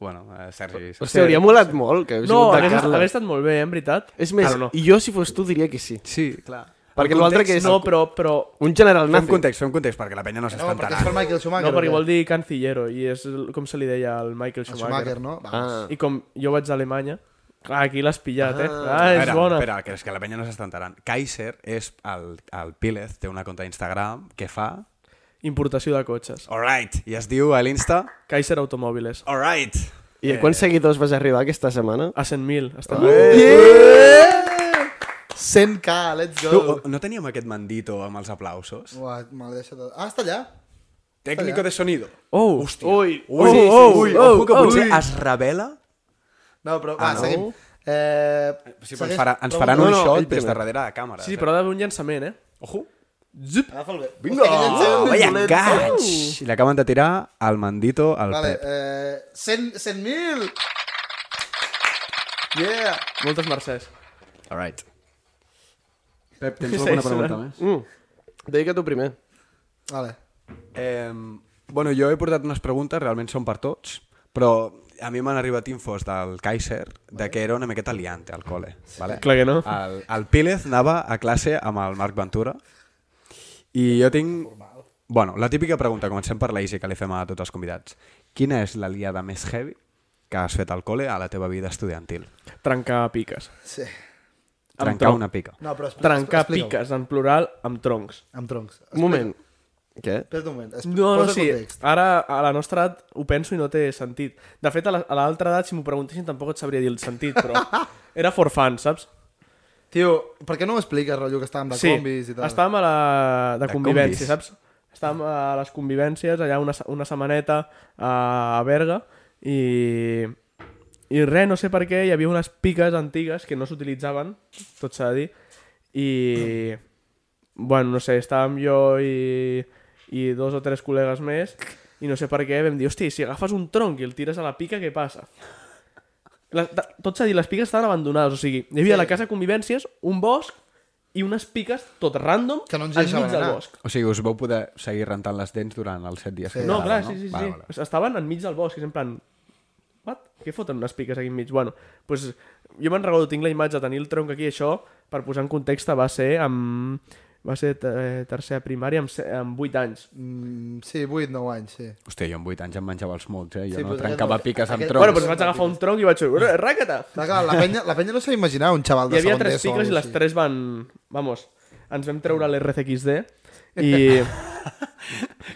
Bueno, eh, Sergi.
Hòstia, hauria molat molt que hagués
No,
sigut de
hagués,
Carles.
hagués estat molt bé, eh, en veritat.
És més,
Ara no.
i jo si fos tu diria que sí.
Sí, clar.
Perquè l'altre que és
No, però, però...
un general
Fem
nazi.
context, fem context, perquè la penya no
No, perquè
s'espantarà.
és per Michael Schumacher. eh?
No, perquè
o què?
vol dir cancillero, i és el- com se li deia al Michael
El
Schumacher.
Schumacher, no? Vamos.
Ah,
I com jo vaig a Alemanya, clar, aquí l'has pillat, eh?
Ah.
Ah, és
espera,
bona.
Espera, que és que la penya no s'espantaran. Kaiser és el, el Pílez, té una compte a Instagram que fa...
Importació de cotxes.
Alright, i es diu a l'Insta...
Kaiser Automòbiles.
Alright!
I a quants seguidors vas arribar aquesta setmana?
A 100.000. Està...
Eh!
Yeah! 100k, let's
Tu,
go.
no teníem aquest mandito amb els aplausos?
Uah, me l'he deixat... Ah, està allà.
Técnico de sonido.
Oh,
Hòstia.
Ui,
Ui,
sí, sí, sí.
ui,
Oh,
ojo que
oh,
potser
ui.
es revela
No, però va,
no?
seguim. Eh,
Sí, però ens,
segueix.
farà, ens faran
No,
un
no, ell
shot des de
primer.
darrere de càmera.
Sí, sí, però ha d'haver un llançament, eh?
Ojo.
Agafa'l bé.
Vinga! Oh, vaya
eh,
catch!
Uh.
I l'acaben de tirar al mandito, al
Vale,
Pep.
eh, 100 100.000! Yeah!
Moltes mercès.
All right. Pep,
Sí,
tens
alguna sí, pregunta sí.
més?
Mm. Dedica tu primer.
Vale.
Eh, bueno, jo he portat unes preguntes, realment són per tots, però a mi m'han arribat infos del Kaiser de que era una miqueta liante al col·le. Vale?
Clar que no.
Ah.
El, el Pílez anava a classe amb el Marc Ventura i jo tinc... Bueno, la típica pregunta, comencem per la easy que li fem a tots els convidats. Quina és la liada més heavy que has fet al col·le a la teva vida estudiantil?
Trencar piques.
Sí.
Trencar
tronc.
una pica.
No, però expli-
Trencar
explica-ho.
piques, en plural, amb troncs.
Amb troncs.
Un moment. Què?
Espera't un moment. Expli-
No, no,
posa
sí.
context.
Ara, a la nostra edat, ho penso i no té sentit. De fet, a la- a l'altra edat, si m'ho preguntessin, tampoc et sabria dir el sentit,
[LAUGHS]
però... Era for fun, saps?
Tio, per què no ho expliques, rotllo, que estàvem de
sí,
combis i tal?
estàvem a la... de,
De
convivència,
combis.
saps? Estàvem a les convivències, allà una, se- una setmaneta a, a Berga, i... I res, no sé per què, hi havia unes piques antigues que no s'utilitzaven, tot s'ha de dir, i... Bueno, no sé, estàvem jo i, i dos o tres col·legues més, i no sé per què vam dir, hosti, si agafes un tronc i el tires a la pica, què passa? La, ta- tot s'ha dit, les piques estaven abandonades, o sigui, hi havia sí. la casa de convivències, un bosc i unes piques tot random
Que no ens
enmig
deixaven
del
anar.
bosc.
O sigui, us vau poder seguir rentant les dents durant els set dies
Sí.
que
No,
durava,
clar, sí, sí, sí.
Vale,
Vale, vale. Estaven enmig del bosc, és en plan... What? Què foten unes piques aquí enmig? Bueno, pues, jo me'n recordo, tinc la imatge de tenir el tronc aquí, això, per posar en context, va ser amb... Va ser eh, tercera primària amb, se- amb 8 anys.
Mm, sí, 8, 9 anys, sí.
vale. Hòstia, jo amb 8 anys em menjava els mots, eh? Jo
Sí,
sí, no
pues
trencava
aquest-
piques amb
aquest-
troncs.
Bueno, doncs vaig agafar un tronc i vaig fer... "Ura, Ràcata!
Clar, clar, la penya, la penya no s'ha d'imaginar un xaval de
Hi havia
segon
tres
d'ESO o
piques i
alguna
les
així.
tres van... Vamos, ens vam treure l'RCXD i...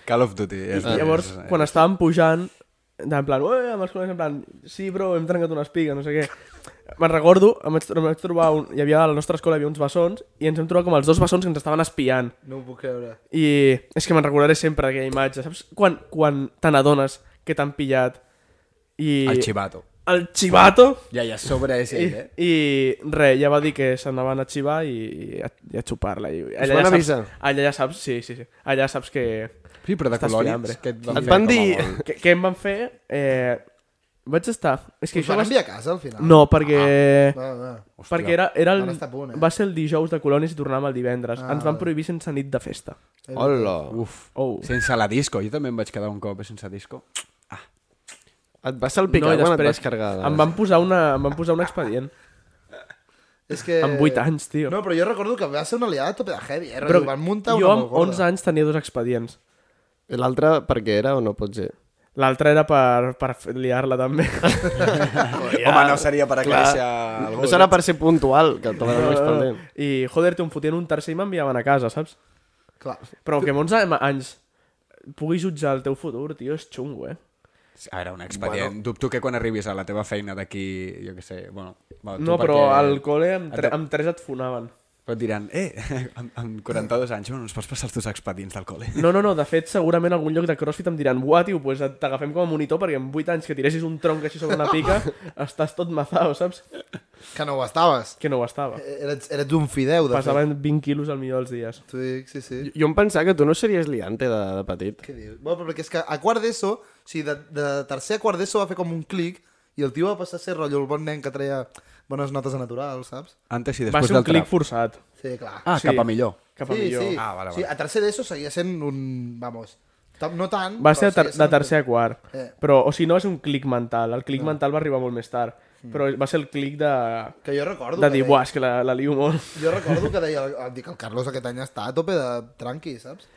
Call of Duty. És,
I llavors, quan estàvem pujant, en plan, "Ué", amb els col·legues, en plan, sí, bro, hem trencat unes pigues, no sé què. Me'n recordo, em vaig, em vaig trobar, un, hi havia a la nostra escola hi havia uns bessons, i ens hem trobat com els dos bessons que ens estaven espiant.
No ho puc creure.
I és que me'n recordaré sempre aquella imatge, saps? Quan, quan te n'adones que t'han pillat i...
El xivato.
El xivato!
Ja, ja, sobre és
I,
ell, eh?
i res, ja va dir que s'anaven a xivar i, i, a, i a xupar-la. I, allà,
van
ja saps,
avisar?
allà ja saps, sí, sí, sí. Allà saps que,
Sí, però de
Estàs
colònics.
fiambre.
Que et van,
Et
fer
van
com a
dir-
molt.
que, que em van fer... Eh, vaig estar... És que
Us
això
van
va,
enviar Ah, a casa, al final?
No, perquè...
No, no.
Hòstia.
Perquè era, era el,
Ara està a punt, eh?
va ser el dijous de colònies i tornàvem el divendres.
Ah,
Ens van
vale.
prohibir sense nit de festa.
Hola.
Uf.
Oh.
Sense la disco. Jo també em vaig quedar un cop eh, sense disco.
Et va salpicar
i eh.
no, quan et vas cargar.
em, van posar una, em van posar un expedient.
És que...
Amb 8 anys, tio.
Eh, No, però jo recordo que va ser una liada tope de heavy, eh? Però van muntar
jo
una
amb 11 anys tenia dos expedients.
L'altre per què era o no pot ser?
L'altre era per, per fer- liar-la, també. [LAUGHS] Oh,
Home, no seria per aclarir algú. eh?
No serà per ser puntual, que te l'han expedient.
I, joder, te un fotien un tercer i m'enviaven a casa, saps?
Clar.
Però que amb 11 ma- anys pugui jutjar el teu futur, tio, és xungo, eh?
A veure, un expedient. Bueno. Dubto que quan arribis a la teva feina d'aquí, jo què sé, bueno... Va, tu
No, però
perquè-
al col·le amb, tre
Et-
amb tres et fonaven.
Però et diran, eh, [LAUGHS] amb, amb 42 anys, bueno, ens pots passar els teus expedients del col·le?
No, no, no, de fet, segurament a algun lloc de CrossFit em diran «Buah, tio, pues et- t'agafem com a monitor perquè en 8 anys que tiressis un tronc així sobre
[LAUGHS]
una pica estàs tot mazao, saps?
Que no ho estaves.
Que no ho estava.
Eres, eres un fideu, de
Passaven 20 quilos al millor dels dies.
fet. T'ho dic, sí, sí.
Jo em pensava que tu no series liante de, de petit.
Què dius? Bueno, però perquè és que a quart d'ESO, o sigui, de, de tercer a quart d'ESO va fer com un clic i el tio va passar a ser rotllo el bon nen que treia bones notes a natural, saps?
Antes i
Va
després
ser un
del
clic
trap.
forçat.
Sí, clar.
Ah,
Sí.
cap a millor.
Cap a
sí,
millor.
Sí.
Ah, vale,
O sigui,
vale.
a tercer d'ESO seguia sent un... Vamos. tam- No tant.
Va ser de, ter
però seguia
de
sent-
tercer a quart.
Eh.
Però, o sigui, no va ser un clic mental. El clic mental va arribar molt més tard. Però va ser el clic de,
Que jo Mm. recordo...
de
que
dir,
deia-
buah, és que la, la liu molt.
Jo recordo que deia... el- Dic, el Carlos aquest any està a tope de tranqui, saps?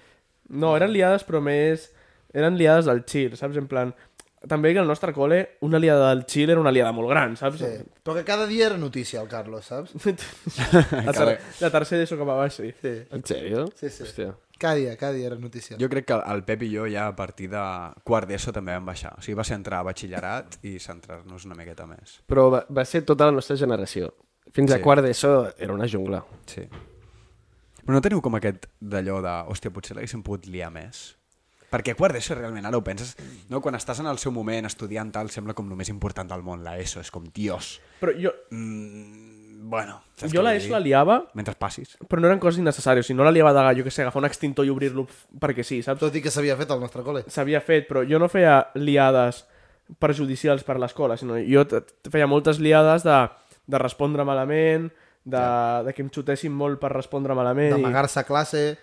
No, eren liades, però més... Eren liades al chill, saps? En plan... També que al nostre col·le una liada del chill era una liada molt gran, saps?
Sí.
[LAUGHS]
Però que cada dia era notícia el Carlos, saps?
La, ter la tercera d'ESO cap a baix, sí.
Sí.
En sèrio?
Sí, sí.
Hòstia.
Cada dia, cada dia era notícia.
Jo crec que el Pep i jo ja a partir de quart d'ESO també vam baixar. O sigui, va ser entrar a batxillerat i centrar-nos una miqueta més.
Però va, va ser tota la nostra generació. Fins sí.
Sí.
a quart d'ESO era una jungla.
Sí. Però no teniu com aquest d'allò de, hòstia, potser l'haguéssim pogut liar més? Perquè a quart d'ESO realment ara ho penses, no? Quan estàs en el seu moment estudiant tal, sembla com el més important del món, la ESO, és com Dios.
Però jo,
Mm, bueno, saps
jo
què
la
vull
ESO
dir?
la liava,
Mentre passis.
però no eren coses innecessàries. O sigui, no la liava de gallo, que sé, agafar un extintor i obrir-lo f- perquè sí, saps?
Tot i que s'havia fet al nostre col·le.
S'havia fet, però jo no feia liades perjudicials per l'escola, sinó jo t- t- feia moltes liades de, de respondre malament, de, de que em xutessin molt per respondre malament. i-
D'amagar-se a classe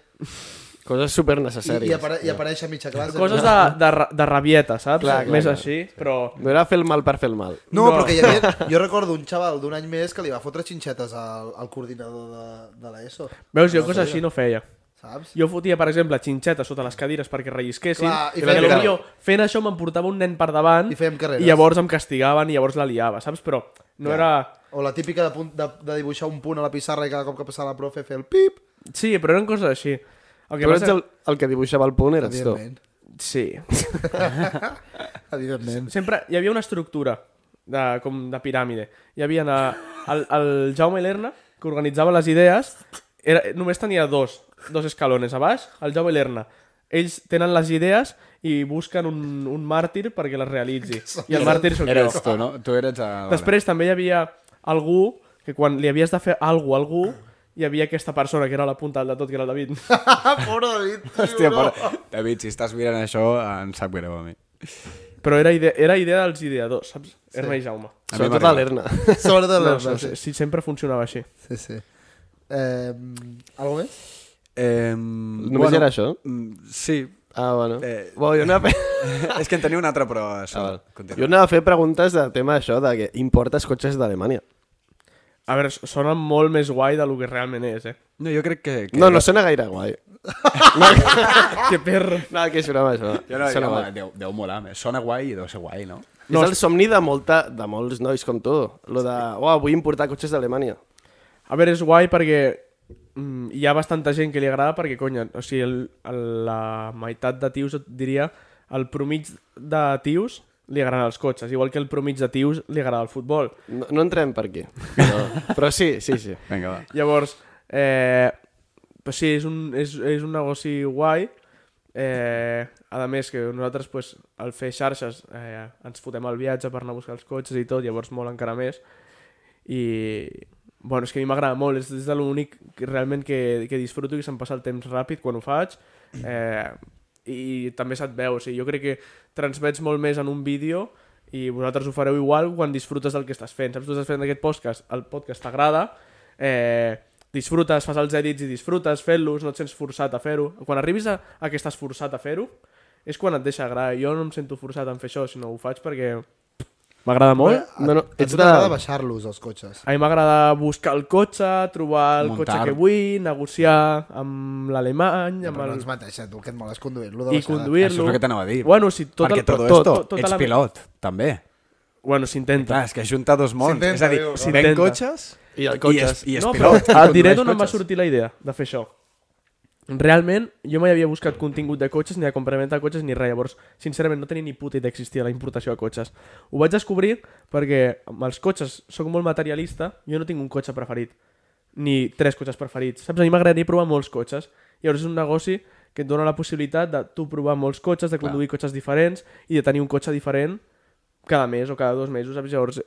Coses super
i,
necessàries.
i, apare i aparèixer a mitja classe.
Coses de, de, ra- de rabieta, saps?
Clar, clar,
Més
clar.
així, però...
No era fer el mal per fer el mal.
No.
No, no, però que hi havia... Jo recordo un xaval d'un any més que li va fotre xinxetes al, al coordinador de, de l'ESO.
Veus, jo coses així no feia.
Saps?
Jo fotia, per exemple, xinxetes sota les cadires perquè rellisquessin,
Clar, i
i, i
fèiem
potser fent això m'emportava un nen per davant
I fèiem carreres.
i llavors em castigaven i llavors la liava, saps? Però no era...
O la típica de, punt, de, de dibuixar un punt a la pissarra i cada cop que passava la profe fer el pip.
Sí, però eren coses així. El que
Tu eres
passa...
el, el que dibuixava el punt, eres tu.
Evidentment.
Sí.
Evidentment.
Sempre hi havia una estructura de, com de piràmide. Hi havia de, el, el Jaume Lerna, que organitzava les idees, era, només tenia dos, dos escalones a baix, el Jaume Lerna. Ells tenen les idees i busquen un, un màrtir perquè les realitzi. I el màrtir sóc jo.
Eres tu, no? Tu eres... A...
Després també hi havia algú que quan li havies de fer alguna a algú, hi havia aquesta persona que era la punta de tot, que era el David.
[LAUGHS] Pobre David. tio,
Hòstia,
no.
pare, David, si estàs mirant això, em sap greu a mi.
Però era idea, era idea dels ideadors, saps? Sí. Erna i Jaume.
A mi
Sobretot
m'arriba.
a tota l'Erna.
[LAUGHS] Sort de
No,
la...
no, sé, sí, sempre funcionava així.
Sí, sí. Eh, algo més?
Eh,
Només era això?
mm, Sí.
Ah, bueno.
Eh,
Eh... Bo, jo
[LAUGHS]
anava a fer...
és que en tenia una altra, però... Això,
Ah, val.
continua.
jo anava a fer preguntes del tema això de que importes cotxes d'Alemanya.
A veure, sona molt més guai de lo que realment és, eh?
No, jo crec que... que
No, no sona gaire guai.
Ah! que perro.
No, que és broma, això.
Jo no,
sona
jo,
guai.
deu, deu molar més. Sona guai i deu ser guai, no?
No,
No, és el somni de, molta, de molts nois com tu. Lo de, oh, vull importar cotxes d'Alemanya.
A veure, és guai perquè mm, hi ha bastanta gent que li agrada perquè, conya, o sigui, el, el, la meitat de tios, et diria, el promig de tios li agraden els cotxes, igual que el promig de tios li agrada el futbol.
No, no entrem per aquí. Però, però sí, sí, sí.
Vinga, va.
Llavors, eh, pues sí, és un, és, és un negoci guai. Eh, a més, que nosaltres, pues, al fer xarxes, eh, ens fotem el viatge per anar a buscar els cotxes i tot, llavors molt encara més. I, bueno, és que a mi m'agrada molt, és, és de l'únic que realment que, que disfruto i que se'm passa el temps ràpid quan ho faig. Eh, i també se't veu, o sigui, jo crec que transmets molt més en un vídeo i vosaltres ho fareu igual quan disfrutes del que estàs fent. Saps, tu estàs fent aquest podcast, el podcast t'agrada, eh, disfrutes, fas els edits i disfrutes fent-los, no et sents forçat a fer-ho. Quan arribis a, a que estàs forçat a fer-ho, és quan et deixa agradar. Jo no em sento forçat en fer això, sinó ho faig perquè m'agrada molt.
No, no,
a
ets
tu
de-
t'agrada baixar-los, els cotxes.
A mi m'agrada buscar el cotxe, trobar el
Muntar.
cotxe que vull, negociar amb l'alemany,
Ja,
amb
però no
el...
ens mateixa, tu, que et moles conduir-lo de
i
baixada.
conduir-lo.
Això és el que t'anava a dir.
Bueno, si tot
Perquè
el,
tot,
tot,
esto,
tot- tota
ets
la-
pilot, també.
Bueno, s'intenta.
Clar, és que junta dos mons.
S'intenta,
és a dir,
diu, no?
si ven
S'intenta.
cotxes
I el
i és,
cotxes.
i és
no, però
pilot.
et diré
condueix
d'on em va
cotxes.
sortir la idea de fer això. realment jo mai havia buscat contingut de cotxes, ni d'acompanyament de cotxes, ni res. Llavors, sincerament, no tenia ni puta idea que existia la importació de cotxes. Ho vaig descobrir perquè amb els cotxes sóc molt materialista, jo no tinc un cotxe preferit, ni tres cotxes preferits. Saps? A mi m'agradaria provar molts cotxes. Llavors és un negoci que et dona la possibilitat de tu provar molts cotxes, de conduir cotxes diferents i de tenir un cotxe diferent cada mes o cada dos mesos, saps? Llavors,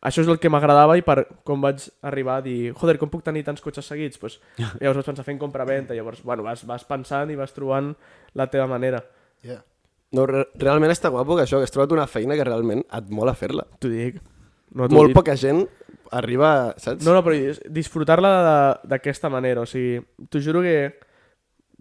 això és el que m'agradava i per com vaig arribar a dir, joder, com puc tenir tants cotxes seguits? Pues, llavors vaig pensar fent compra-venta, llavors bueno, vas, vas pensant i vas trobant la teva manera.
Yeah.
No, re realment està guapo que això, que has trobat una feina que realment et mola fer-la.
T'ho dic. No t'ho
Molt
dic.
poca gent arriba, saps?
No, no, però dis- disfrutar-la de- d'aquesta manera, o sigui, t'ho juro que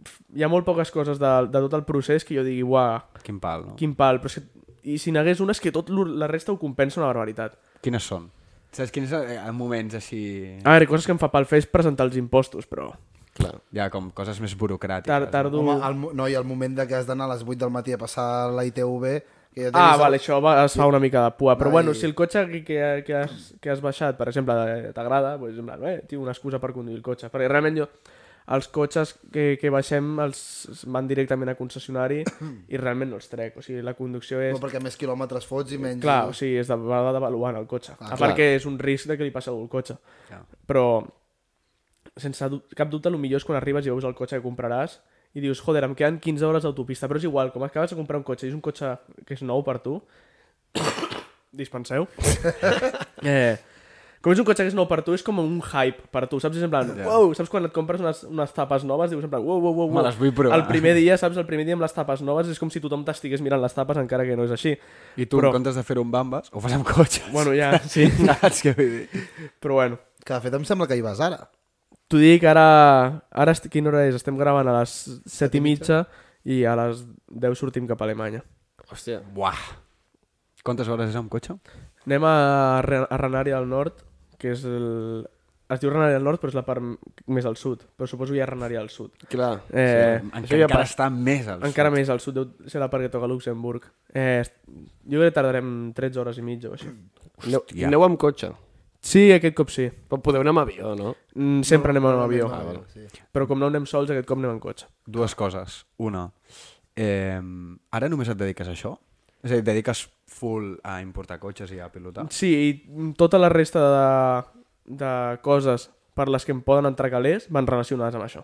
f- hi ha molt poques coses de, de tot el procés que jo digui, uah,
Quin pal, no?
quin pal, però és que, i si n'hagués una és que tot l'or- la resta ho compensa una barbaritat.
Quines són? Saps quins eh, moments així...
Ah.
A veure, coses que em fa pal fer és presentar els impostos, però
Clar.
Ja, com coses més burocràtiques.
tar tardo...
Home, el, mo- no, i el moment de que has d'anar a les 8 del matí a passar la ITV... Que ja
Ah,
tenies-
vale, això va, es fa una mica de pua. Però
Ai.
bueno, si el cotxe que, que, que, has, que has baixat, per exemple, eh, t'agrada, doncs, en plan, eh, tinc una excusa per conduir el cotxe. Perquè realment jo, els cotxes que, que baixem els es van directament a
[COUGHS]
concessionari i realment no els trec. O sigui, la conducció és...
Però perquè més quilòmetres fots i menys...
Clar, o sigui, és de vegades avaluant el cotxe. Ah, a part
clar.
que és un risc de que li passa algú al cotxe.
Clar.
Però, sense du cap dubte, el millor és quan arribes i veus el cotxe que compraràs i dius, joder, em queden 15 hores d'autopista, però és igual, com acabes de comprar un cotxe i és un cotxe que és nou per tu, [COUGHS]
[LAUGHS]
dispenseu, eh, com és un cotxe que és nou per tu, és com un hype per tu, saps? És en plan, wow, saps quan et compres unes, unes tapes noves, dius en plan, wow, wow, wow, wow.
Me les vull provar.
El primer dia, saps? El primer dia amb les tapes noves és com si tothom t'estigués mirant les tapes, encara que no és així.
I tu,
Però-
en comptes de fer un bambes, ho fas amb cotxes. [LAUGHS]
Bueno, ja, sí.
Saps què vull dir?
Però bueno,
Que de fet em sembla que hi vas ara.
t'ho dic, ara... ara est... Quina hora és? Estem gravant a les 7 i mitja i a les 10 sortim cap a Alemanya.
Hòstia.
Buah. Quantes hores és amb cotxe?
Anem a, Re- a Renària del Nord, que és el... Es diu Renària del Nord, però és la part m- més al sud. Però suposo que hi ha Renària del Sud.
Clar.
Eh,
sí,
això
encara,
ja
encara
pas-
està més al
encara més al sud, deu ser la part que toca Luxemburg. Eh, est- jo crec que tardarem 13 hores i mitja o així.
Aneu,
Hòstia.
aneu amb cotxe.
Sí, aquest cop sí.
Però podeu anar amb avió, no?
Mm, sempre anem en avió.
Ah, bueno, sí.
Però com no anem sols, aquest cop anem en cotxe.
Dues coses. Una, eh, ara només et dediques a això? És a dir, et dediques full a importar cotxes i a pilotar?
Sí, i tota la resta de, de coses per les que em poden entrar calés van relacionades amb això.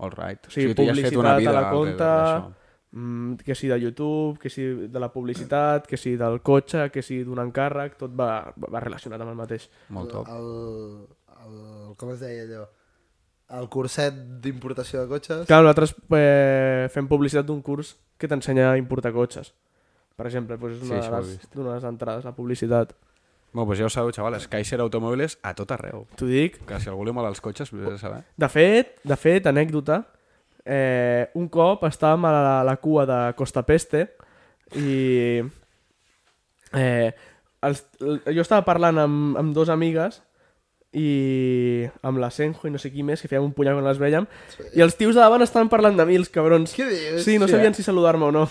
All right.
O sigui,
tu ja has fet una
publicitat a la
vida
compte,
d'això.
mm, que sí de YouTube, que sí de la publicitat, que sí del cotxe, que sí d'un encàrrec, tot va, va relacionat amb el mateix.
Molt top.
Ah.
El, el, com es deia allò? El curset d'importació de cotxes.
Clar, nosaltres eh, fem publicitat d'un curs que t'ensenya a importar cotxes. Per exemple, doncs és
Sí,
una
això
de
ho he
les,
vist.
d'una de les entrades, la publicitat.
Bueno, pues ja ho sabeu, xavales, Kaiser Automòbiles a tot arreu.
T'ho dic,
Que si algú li mola els cotxes, vés a saber.
De fet, de fet, anècdota, eh, un cop estàvem a la, la cua de Costa Peste i eh, els, el, jo estava parlant amb, amb dos amigues i amb la Senjo i no sé qui més, que fèiem un punyal quan les vèiem, i els tios de davant estaven parlant de mi, els cabrons.
Què dius?
Sí, no
Sí, eh?
sabien si saludar-me o
[LAUGHS]
no.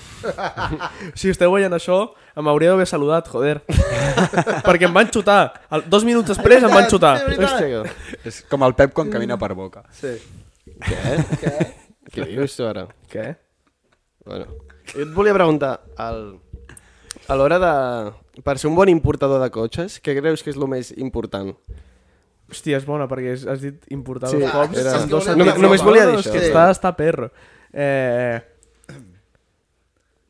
si esteu veient això, em hauria d'haver saludat,
[LAUGHS]
joder. Perquè em van xutar. El, dos minuts després em van xutar.
Sí, veritat.
Hòstia,
És com el Pep quan camina per boca.
Sí.
que... Què dius tu ara?
Què?
Bueno, jo et volia preguntar, al, a l'hora de... Per ser un bon importador de cotxes, què creus que és el més important?
Hòstia, és bona, perquè has- has dit importar
Sí,
sí, Ah, dos cops.
era-
en dos
Només-
sentits.
només
No,
volia
no,
dir
és
això.
Que
Sí.
està, està perro. Eh,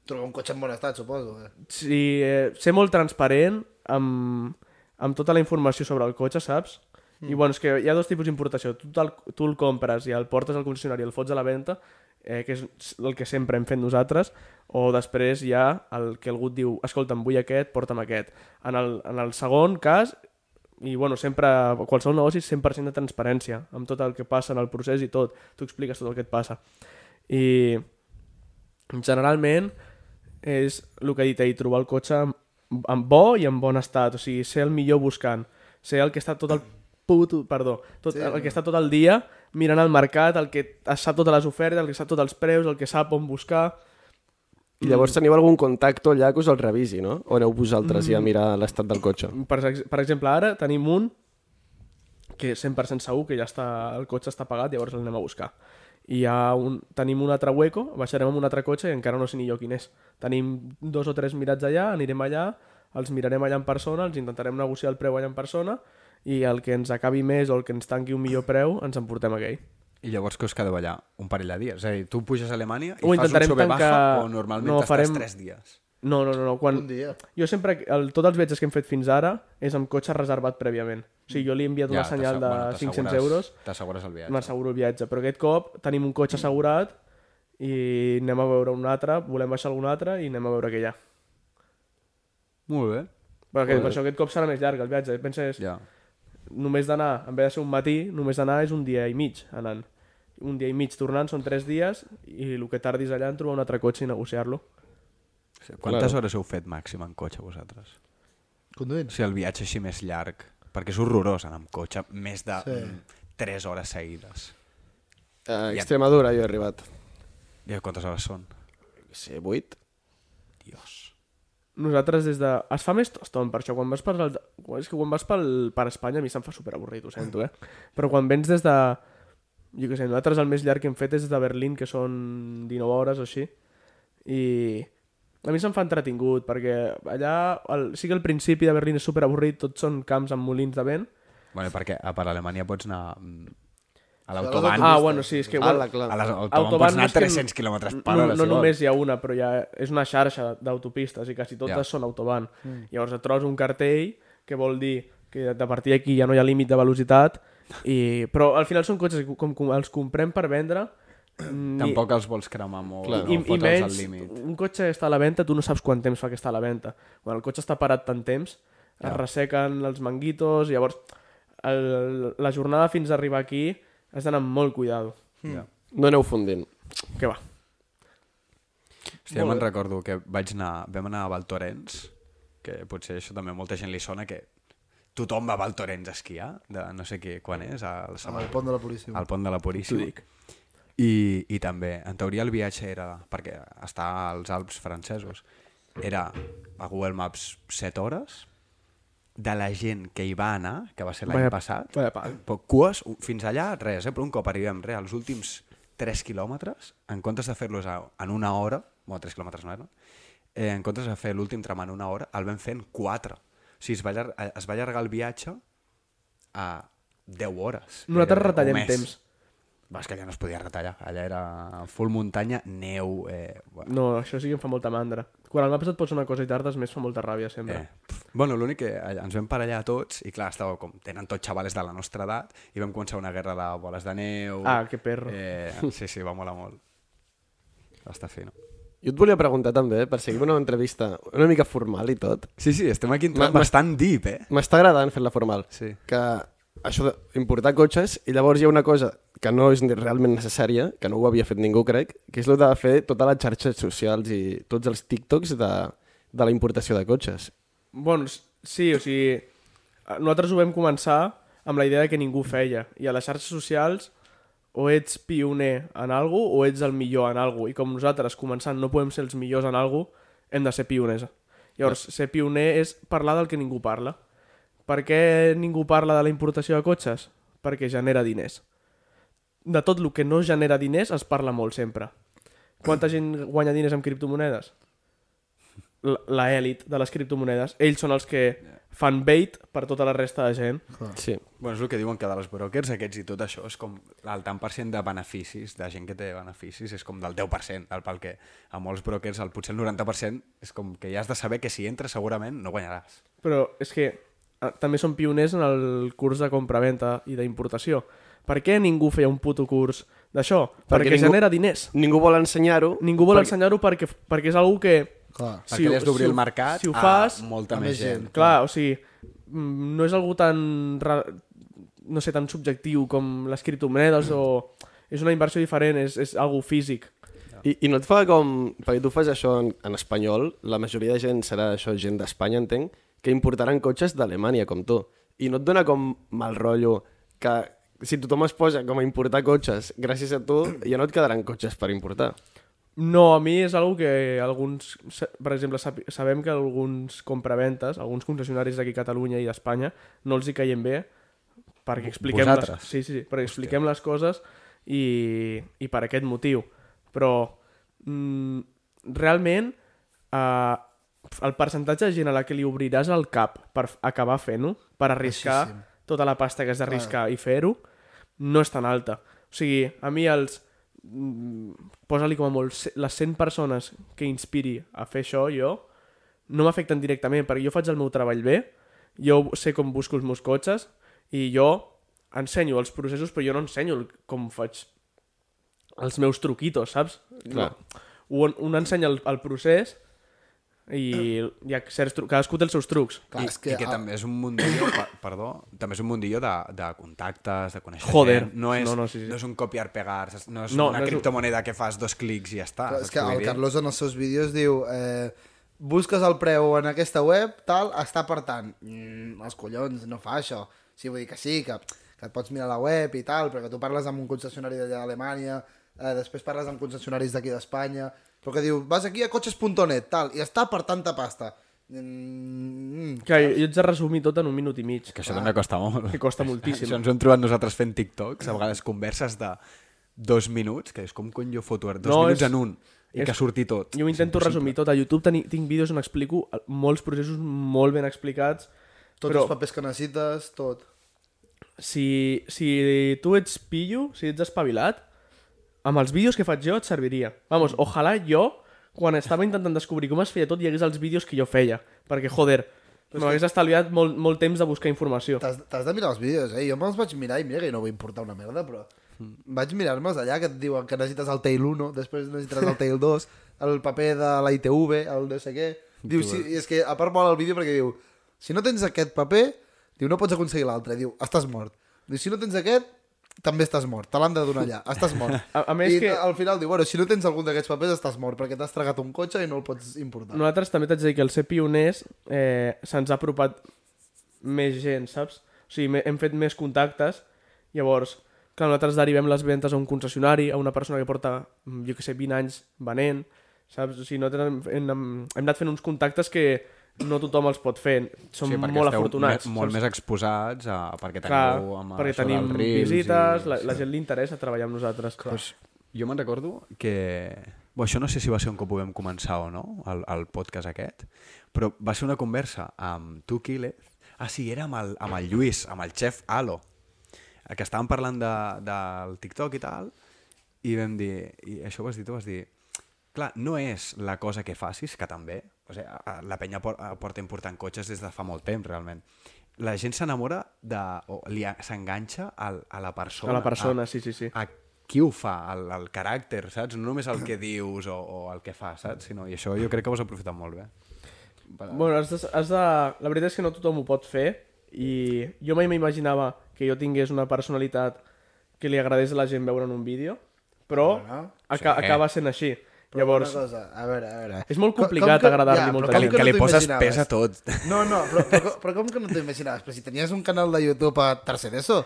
Trobar un cotxe en bon estat, suposo. Eh?
sí, eh, ser molt transparent amb, amb tota la informació sobre el cotxe, saps? Mm. I bueno, és que hi ha dos tipus d'importació. Tu, te'l- tu el compres i el portes al concessionari i el fots a la venda, eh, que és el que sempre hem fet nosaltres, o després hi ha el que algú et diu, escolta, em vull aquest, porta'm aquest. En el, en el segon cas, i bueno, sempre, qualsevol negoci és 100% de transparència, amb tot el que passa en el procés i tot. Tu expliques tot el que et passa. I generalment és el que he dit ahir, trobar el cotxe en, en bo i en bon estat, o sigui, ser el millor buscant, ser el que està tot el puto, perdó, tot, sí, el que està tot el dia mirant al mercat, el que es sap totes les ofertes, el que sap tots els preus, el que sap on buscar...
I llavors teniu algun contacte allà que us el revisi, no? O aneu vosaltres ja a mirar l'estat del cotxe?
Per, ex- per exemple, ara tenim un que 100% segur que ja està, el cotxe està pagat, llavors l'anem a buscar. i hi ha un, tenim un altre hueco, baixarem amb un altre cotxe i encara no sé ni jo quin és. Tenim dos o tres mirats allà, anirem allà, els mirarem allà en persona, els intentarem negociar el preu allà en persona i el que ens acabi més o el que ens tanqui un millor preu ens emportem aquell.
I llavors que us quedeu allà un parell de dies. És a dir, tu puges a Alemanya i
Ho
fas un
intentarem
sobe baja
tancar-
o normalment
no,
no,
farem-
t'estàs tres dies.
No, no, no, no. Quan...
Mm.
Un dia.
Jo sempre, el, tots els viatges que hem fet fins ara és amb cotxe reservat prèviament. O sigui, jo li he enviat una senyal
t'assegu-
de
bueno, t'assegures-
500 euros
T'assegures el viatge.
m'asseguro el viatge, però aquest cop tenim un cotxe assegurat i anem a veure un altre, volem baixar algun altre i anem a veure què hi ha.
Molt bé.
Però aquest, per això aquest cop serà més llarg el viatge. Penses,
Ja.
només d'anar, en vez de ser un matí, només d'anar és un dia i mig anant. Un dia i mig tornant són tres dies i el que tardis allà en trobar un altre cotxe i negociar-lo.
Quantes hores heu fet màxim en cotxe vosaltres?
Conduint.
O sigui, el viatge així més llarg, perquè és horrorós anar amb cotxe, més de
Sí.
sí. 3 hores seguides.
A Extremadura jo he arribat.
I quantes hores són?
Sí, 8.
Dios.
Nosaltres des de... Es fa més toston per això. Quan vas per... Alt... És que quan vas pel... per Espanya a mi se'm fa superavorrit, ho sento, eh? Però quan vens des de... Jo què sé, nosaltres el més llarg que hem fet és de Berlín, que són 19 hores o així. I a mi se'm fa entretingut, perquè allà... El... Sí que al principi de Berlín és superavorrit, tots són camps amb molins de vent.
Bueno, perquè a per Alemanya pots anar mm, a
Ah,
l'autobahn.
autopistes.
bueno, sí, és que...
Ah, la clar.
A l'autobahn
Autobahn
pots
no
anar
és
a
que
300 no, km per
no,
hora.
No
si
només
vols.
hi ha una, però ja és una xarxa d'autopistes i quasi totes
Ja.
yeah. són autobahn. Mm. Llavors et trobes un cartell que vol dir que de partir d'aquí ja no hi ha límit de velocitat, i... però al final són cotxes que com, com els comprem per vendre ni-
Tampoc els vols cremar molt,
Clar,
Clar,
I,
no,
i
fotre'ls al
menys,
límit.
un cotxe està a la venda, tu no saps quant temps fa que està a la venda. Quan el cotxe està parat tant temps, ja. es ressequen els manguitos, i llavors el, la jornada fins a arribar aquí has d'anar amb molt cuidado.
Ja.
No aneu fundint.
Que va.
Hòstia, jo me'n recordo que vaig anar, vam anar a Valtorens, que potser això també a molta gent li sona, que tothom va a Valtorens a esquiar, de no sé qui, quan és, al,
Amb el pont de la policia.
al pont de la Puríssima. I, I també, en teoria el viatge era, perquè està als Alps francesos, era a Google Maps 7 hores, de la gent que hi va anar, que va ser l'any
Vaya-
passat,
vaya pal.
però cues, u- fins allà res, eh? però un cop arribem res, als últims 3 quilòmetres, en comptes de fer-los a- en una hora, bueno, 3 quilòmetres no eren, eh, en comptes de fer l'últim tram en una hora, el vam fer en 4. O sigui, es va, allar- es va allargar el viatge a 10 hores.
Nosaltres
gairebé, o
retallem
més.
temps.
Va, és que allà no es podia retallar. Allà era full muntanya, neu... Eh, bueno,
No, això sí que em fa molta mandra. Quan al mapa et pots una cosa i tardes més fa molta ràbia sempre.
eh. Pff. bueno l'únic que allà- ens vam parellar tots i clar, estava com, tenen tots xavales de la nostra edat i vam començar una guerra de boles de neu.
Ah, que perro.
Eh, sí, sí, va molar molt. Va estar fino.
Jo et volia preguntar també, per seguir una entrevista una mica formal i tot.
Sí, sí, estem aquí entrant
Ma- ma-
bastant deep, eh?
M'està agradant fer-la formal.
Sí.
Que això d'importar cotxes, i llavors hi ha una cosa que no és ni realment necessària, que no ho havia fet ningú, crec, que és el de fer totes les xarxes socials i tots els TikToks de, de la importació de cotxes.
Bon, s- sí, o sigui, eh, nosaltres ho vam començar amb la idea de que ningú feia. I a les xarxes socials o ets pioner en algo o ets el millor en algo. I com nosaltres, començant, no podem ser els millors en algo, hem de ser pioners. Llavors, ser pioner és parlar del que ningú parla. Per què ningú parla de la importació de cotxes? Perquè genera diners. De tot el que no genera diners es parla molt sempre. Quanta gent guanya diners amb criptomonedes? l- la èlit de les criptomonedes, ells són els que fan bait per tota la resta de gent.
Sí.
Bueno, és el que diuen que dels brokers, aquests i tot això, és com el tant per cent de beneficis, de gent que té beneficis, és com del 10%, del pel que a molts brokers el, potser el 90% és com que ja has de saber que si entres segurament no guanyaràs.
Però és que eh, també són pioners en el curs de compraventa i d'importació. Per què ningú feia un puto curs d'això? Perquè,
Perquè
ningú...
ningú-
genera diners.
Ningú vol ensenyar-ho.
Ningú vol perquè... ensenyar-ho perquè, perquè és algú que...
Clar.
Perquè sí,
ho-
li has d'obrir
ho-
el mercat
si ho fas,
a molta
a
més
més gent.
gent.
Clar, o sigui, mm, no és algú tan ra- no sé, tan subjectiu com les criptomonedes o... És una inversió diferent, és, és algú físic.
I, I no et fa com... Perquè tu fas això en, en espanyol, la majoria de gent serà això, gent d'Espanya, entenc, que importaran cotxes d'Alemanya, com tu. I no et dona com mal rotllo que si tothom es posa com a importar cotxes gràcies a tu, ja no et quedaran cotxes per importar.
No, a mi és algo que alguns, sa- per exemple, sap- sabem que alguns compraventes, alguns concessionaris d'aquí a Catalunya i d'Espanya, no els hi caiem bé perquè expliquem
vosaltres?
les, sí, sí, sí, perquè expliquem les coses i, i per aquest motiu. Però mm, realment eh, el percentatge de gent a la que li obriràs el cap per f- acabar fent-ho, per arriscar
Baixíssim.
tota la pasta que has d'arriscar i fer-ho, no és tan alta. O sigui, a mi els... mm, Posa-li com a molt ce- les 100 persones que inspiri a fer això, jo, no m'afecten directament, perquè jo faig el meu treball bé, jo sé com busco els meus cotxes, i jo ensenyo els processos, però jo no ensenyo el, com faig els meus truquitos, saps?
Clar.
Un, un ensenya el, el procés i hi ha certs trucs, cadascú té els seus trucs.
Clar,
I,
és
que,
que,
I que
ah,
també és un mundillo, per, perdó, també és un mundillo de, de contactes, de conèixer
Joder.
gent. No és,
No, no, sí, sí.
no és un copiar-pegar, saps? no és
No,
no,
no
una no
és un-
criptomoneda que fas dos clics i ja està.
Clar,
Ah, saps
és que
què vull
el
dir?
Carlos en els seus vídeos diu eh, busques el preu en aquesta web, tal, està per tant. Mm, els collons, no fa això. Sí, vull dir que sí, que, que et pots mirar la web i tal, però que tu parles amb un concessionari d'allà d'Alemanya, eh, després parles amb concessionaris d'aquí d'Espanya, però que diu, vas aquí a cotxes.net, tal, i està per tanta pasta. Mm,
Que jo, jo ets de resumir tot en un minut i mig,
Que això
Ah.
també costa molt.
que costa moltíssim.
Això ens ho hem trobat nosaltres fent TikToks, a vegades converses de dos minuts, que és com cony jo foto ara? dos
No,
no, minuts
és-
és, en un, i
és-
que surti tot.
Jo ho intento resumir tot. A YouTube teni, tinc vídeos on explico el- molts processos molt ben explicats,
tots
però
els papers que necessites, tot.
si, si tu ets pillo, si ets espavilat, amb els vídeos que faig jo et serviria. Vamos, ojalà jo, quan estava intentant descobrir com es feia tot, hi hagués els vídeos que jo feia. Perquè, joder, m'hagués estalviat molt, molt temps de buscar informació.
T'has t'has de mirar els vídeos, eh? Jo me'ls vaig mirar i mira que no vull importar una merda, però... Vaig mirar-me'ls allà que et diuen que necessites el Tail 1, després necessites el Tail 2, el paper de la ITV, el no sé què... Diu, sí, i és que a part mola el vídeo perquè diu si no tens aquest paper, diu no pots aconseguir l'altre, diu estàs mort. Diu si no tens aquest, també estàs mort, te l'han de donar allà, estàs mort.
[LAUGHS] A- a més
I
que-
al final diu, bueno, si no tens algun d'aquests papers estàs mort perquè t'has tragat un cotxe i no el pots importar.
Nosaltres també t'haig de dir que el ser pioners eh, se'ns ha apropat més gent, saps? O sigui, me- hem fet més contactes, llavors, clar, nosaltres derivem les ventes a un concessionari, a una persona que porta, mm, jo que sé, 20 anys venent, saps? O sigui, nosaltres hem, hem, hem anat fent uns contactes que no tothom els pot fer, som sí,
perquè
molt
esteu
afortunats.
Me, molt
saps?
més exposats a, perquè teniu
clar,
amb
perquè
això
tenim
dels reels
visites,
i...
la, la gent li interessa treballar amb nosaltres. Clar.
Pues, jo me'n recordo que... Bo, això no sé si va ser un cop ho vam començar o no, el, el podcast aquest, però va ser una conversa amb tu, Quílez. Ah, sí, era amb el, amb el Lluís, amb el xef Alo, eh, que estàvem parlant de, del TikTok i tal, i vam dir... I això ho vas dir, tu vas dir... Clar, no és la cosa que facis, que també... O sigui, a- a- la penya por- a- porta important cotxes des de fa molt temps, realment. La gent s'enamora de... o li a- s'enganxa al- a la persona.
A la persona,
Ah.
sí, sí, sí.
A qui ho fa, el, el caràcter, saps? No només el que dius o, o el que fa, saps? Sinó, I això jo crec que ho has aprofitat molt bé.
Bueno, has de, has de... La veritat és que no tothom ho pot fer i jo mai m'imaginava que jo tingués una personalitat que li agradés a la gent veure en un vídeo, però
Bueno,
aca
sí.
acaba sent així.
Però
Llavors,
una cosa, a veure, a veure...
És molt
Com- com
complicat
que-
agradar-li
ja,
molta
però com
gent.
que li
no t'ho
poses
imaginaves?
pes a tot. [LAUGHS]
No, no, però, però, però com que no t'ho imaginaves? Però si tenies un canal de YouTube a tercer d'ESO,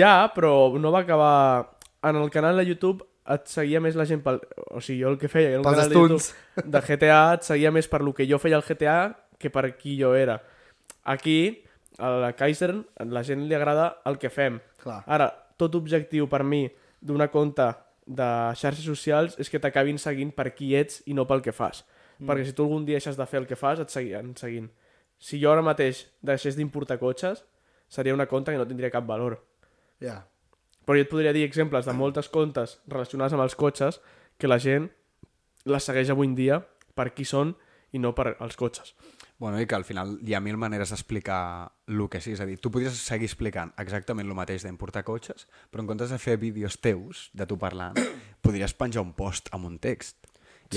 ja, però no va acabar... En el canal de YouTube et seguia més la gent pel... O sigui, jo el que feia... jo El
Pels
canal de,
stunts.
YouTube de GTA et seguia més per lo que jo feia al GTA que per qui jo era. Aquí, a la Kaisern, a la gent li agrada el que fem.
Clar.
Ara, tot objectiu per mi d'una compte de xarxes socials és que t'acabin seguint per qui ets i no pel que fas. Mm. Perquè si tu algun dia deixes de fer el que fas, et seguiran seguint. Si jo ara mateix deixés d'importar cotxes, seria una compte que no tindria cap valor.
ja.
Però jo et podria dir exemples de moltes contes relacionades amb els cotxes que la gent les segueix avui en dia per qui són i no per els cotxes.
Bueno, i que al final hi ha mil maneres d'explicar el que sí. És a dir, tu podries seguir explicant exactament el mateix d'importar cotxes, però en comptes de fer vídeos teus, de tu parlant, [CLEARS THROAT] podries penjar un post amb un text. I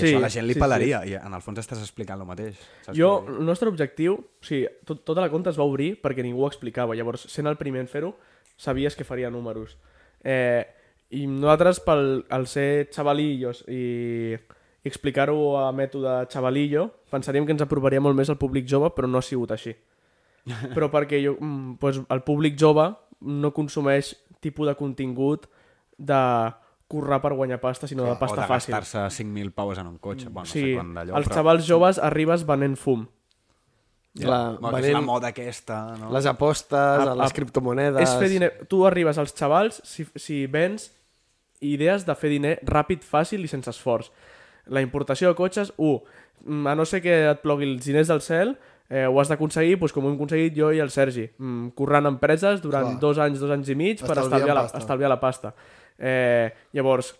Sí,
sí, això a la gent li
sí,
sí, pelaria, sí. i en el fons estàs explicant el mateix. Saps
Jo,
què vull dir?
el nostre objectiu, o sigui, tot, tota la conta es va obrir perquè ningú ho explicava. Llavors, sent el primer en fer-ho, sabies que faria números. Eh, I nosaltres, pel, al ser xavalillos i, i explicar-ho a mètode xavalillo, pensaríem que ens aproparia molt més al públic jove, però no ha sigut
[LAUGHS]
així. Però perquè jo, mm, doncs el públic jove no consumeix tipus de contingut de currar per guanyar pasta, sinó de
o
pasta
de
fàcil.
gastar-se 5.000 paus en un cotxe. Bueno,
O
no
sigui,
sé quan d'allò,
els xavals joves arribes venent fum.
Ja,
La,
bueno, que és la
venent,
moda aquesta, no? Ah,
les apostes,
A-
a, les
a-
criptomonedes...
És fer diner. Tu arribes als xavals, si, si vens idees de fer diner ràpid, fàcil i sense esforç. La importació de cotxes, 1. A no ser que et plogui els diners del cel, eh, ho has d'aconseguir doncs, com ho hem aconseguit jo i el Sergi, mm, currant empreses durant
Clar.
clar. dos anys, dos anys i mig per
Estalviant
estalviar la,
pasta.
estalviar la pasta. Eh, llavors,